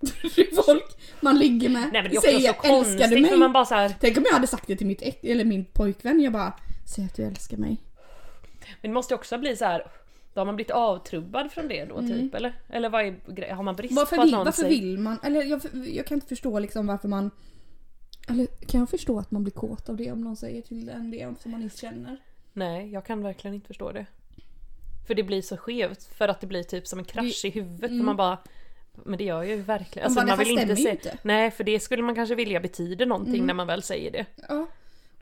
Till Folk man ligger med. Nej men det är också säga, så "Älskar du konstigt för mig?" man bara så här, Tänk om jag hade sagt det till mitt ex, eller min pojkvän. Jag bara Säg att du älskar mig. Men det måste ju också bli så här. Då har man blivit avtrubbad från det då typ eller? Eller vad är gre- Har man brist Mm. Varför på att vill, någon varför säger... vill man? Eller jag, jag kan inte förstå liksom varför man... Eller kan jag förstå att man blir kåt av det om någon säger till en det som man inte känner? Nej, jag kan verkligen inte förstå det. För det blir så skevt. För att det blir typ som en krasch i huvudet. Mm. Man bara... Men det gör jag ju verkligen. Alltså, bara, det man här stämmer ju se- inte. Mm. Nej, för det skulle man kanske vilja betyder någonting när man väl säger det. Ja.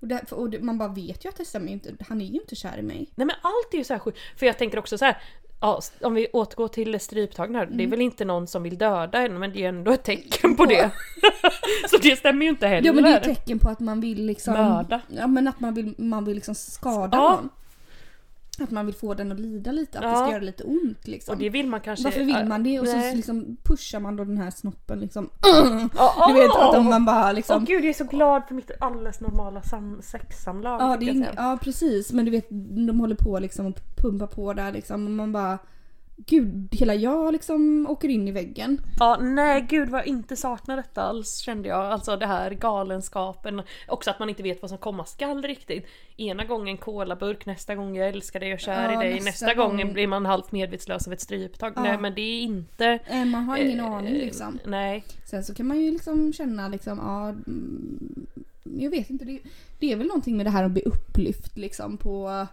Och, där, och det, man bara vet ju att det stämmer ju inte. Han är ju inte kär i mig. Nej men allt är ju så här sjukt. För jag tänker också så här. Ja, s- om vi återgår till stryptagna. Det Mm. är väl inte någon som vill döda en men det är ju ändå ett tecken på det. så det stämmer ju inte heller. Ja men det är ju ett tecken på att man vill liksom... Mörda. Ja men att man vill, man vill liksom skada Ja. någon. Att man vill få den att lida lite, att det Ja. ska göra lite ont liksom. och det vill man kanske... Varför vill man det? Och så Nej. liksom pushar man då den här snoppen liksom. Ja, Du vet åh! att om man bara Åh liksom... gud, jag är så glad för mitt alldeles normala sam- sexsamlag. Ja, det fick är jag inga, säga. ja precis men du vet de håller på liksom och pumpar på där liksom och man bara Gud, hela jag liksom åker in i väggen. ja, nej gud vad jag inte saknar detta alls kände jag. Alltså det här galenskapen. Också att man inte vet vad som komma skall riktigt. Ena gången kolaburk, nästa gång jag älskar dig och kär Ja, i dig. Nästa, nästa gång... gång- blir man halvt medvetslös av ett stryptag. Nej men det är inte... Eh, Man har ingen eh, aning liksom. Nej. Sen så kan man ju liksom känna liksom, ja... mm, Jag vet inte, det, det är väl någonting med det här att bli upplyft liksom på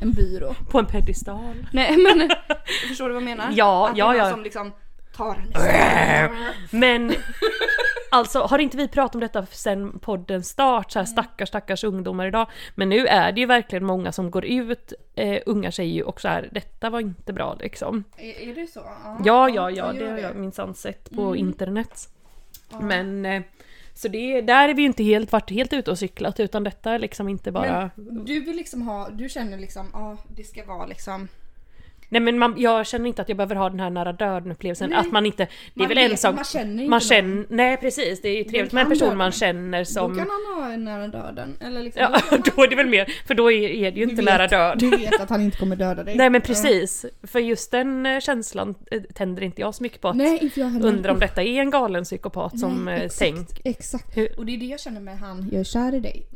en byrå. På en pedestal. Nej men... förstår du vad jag menar? Ja, att ja, det är någon ja. som liksom tar en... Men Alltså har inte vi pratat om detta sen podden start, så Mm. här stackars stackars ungdomar idag. Men nu är det ju verkligen många som går ut, eh, unga tjejer ju, och så här, detta var inte bra liksom. Är, det så? Ja, ja, ja, det har jag minsann sett på Mm. internet. Men eh, så det, där är vi ju inte helt, varit helt ute och cyklat utan detta är liksom inte bara... Du vill liksom ha, du känner liksom, ja det ska vara liksom Nej men man, jag känner inte att jag behöver ha den här nära döden upplevelsen. Nej. Att man inte... Det är Man väl en vet- sak... man känner inte man någon. känner, Nej precis, det är ju trevligt med en kan person döden. man känner som... Då kan han ha en nära döden. Eller liksom, Ja, då är det väl mer, för då är, är det ju inte nära död. Du vet att han inte kommer döda dig. Nej men precis, för just den eh, känslan eh, tänder inte jag så mycket på. Att Nej, inte jag heller. undra om detta är en galen psykopat som eh, tänk. Exakt. Hur- Och det är det jag känner med han, jag är kär i dig.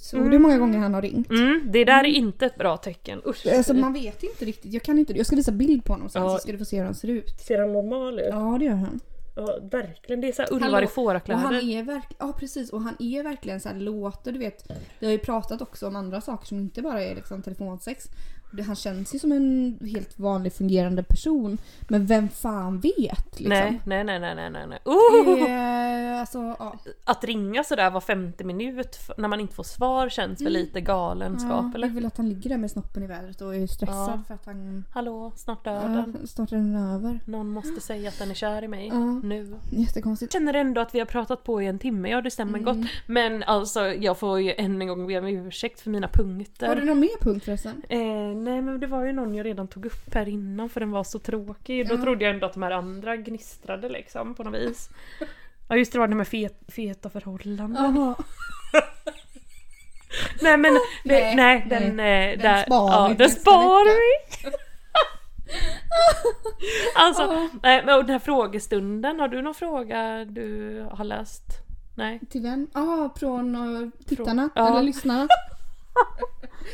Så det är många gånger han har ringt. Mm, det där är inte ett bra tecken. Usch. Alltså man vet inte riktigt, jag kan inte Jag ska visa bild på honom sen Ja. så ska du få se hur han ser ut. Ser han normal ut? Ja det gör han. Ja, verkligen. Det är så här ulvar Och i han fårakläder. är verk- ja precis och han är verkligen så här låter du vet. Vi har ju pratat också om andra saker som inte bara är liksom telefonsex. Det- Han känns ju som en helt vanlig fungerande person. Men vem fan vet liksom. Nej, nej, nej, nej, nej, nej, nej. Oh! Det är, alltså, ja. Att ringa sådär var femte minut f- när man inte får svar känns väl lite galenskap Mm. Ja, Jag eller? vill att han ligger där med snoppen i vädret och är stressad Ja. för att han Hallå, snart döden. ja, snart är den över. Någon måste säga att den är kär i mig. Ja. Nu. Jättekonstigt. känner ändå att vi har pratat på i en timme, ja det Mm. stämmer gott. Men alltså jag får ju än en gång be om ursäkt för mina punkter. Har du någon mer punkt förresten? Eh, nej men det var ju någon jag redan tog upp här innan för den var så tråkig. Då Ja. trodde jag ändå att de här andra gnistrade liksom på något vis. Ja just det, det var det med fet, feta förhållanden. Jaha. Nej men nej, Nej, nej, den, eh, där, sparar vi ja, den nästa sparar vecka. vi. alltså, nej, men och den här frågestunden, har du någon fråga du har läst? Nej? Till vem? Ja, från eh, tittarna Ja. eller lyssnarna.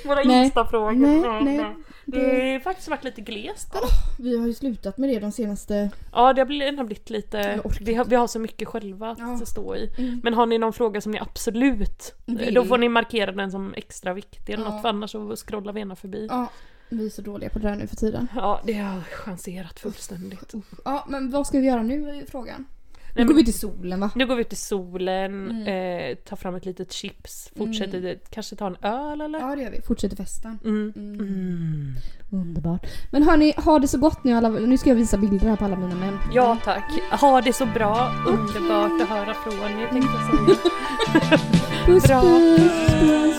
Våra Nej. Insta-frågor. Nej, Nej, nej. nej. Det Det- har faktiskt varit lite glest. Vi har ju slutat med det de senaste... Ja, det har blivit, det har blivit lite... Jag orkar Vi har, vi har så mycket själva att Ja. stå i. Men har ni någon fråga som ni absolut... eh, Vill. Då får ni markera den som extra viktig eller Ja. något, för annars så scrollar vi ena förbi. Ja, Ja, vi är så dåliga på det där nu för tiden. det har jag chanserat fullständigt. Ja, men vad ska vi göra nu är ju frågan. Oh. Nu Nej, går men- vi till Mm. solen va? Nu går vi ut i solen, eh, tar fram ett litet chips, fortsätter kanske ta en öl eller? Mm. Ja det gör vi, fortsätter festen. Mm. Mm. Underbart. Men hörni, ha det så gott nu alla. Nu ska jag visa bilder här på alla mina män. Ja tack. Ha det så bra. Underbart att höra från er tänkte jag säga. Puss Bra. puss! puss.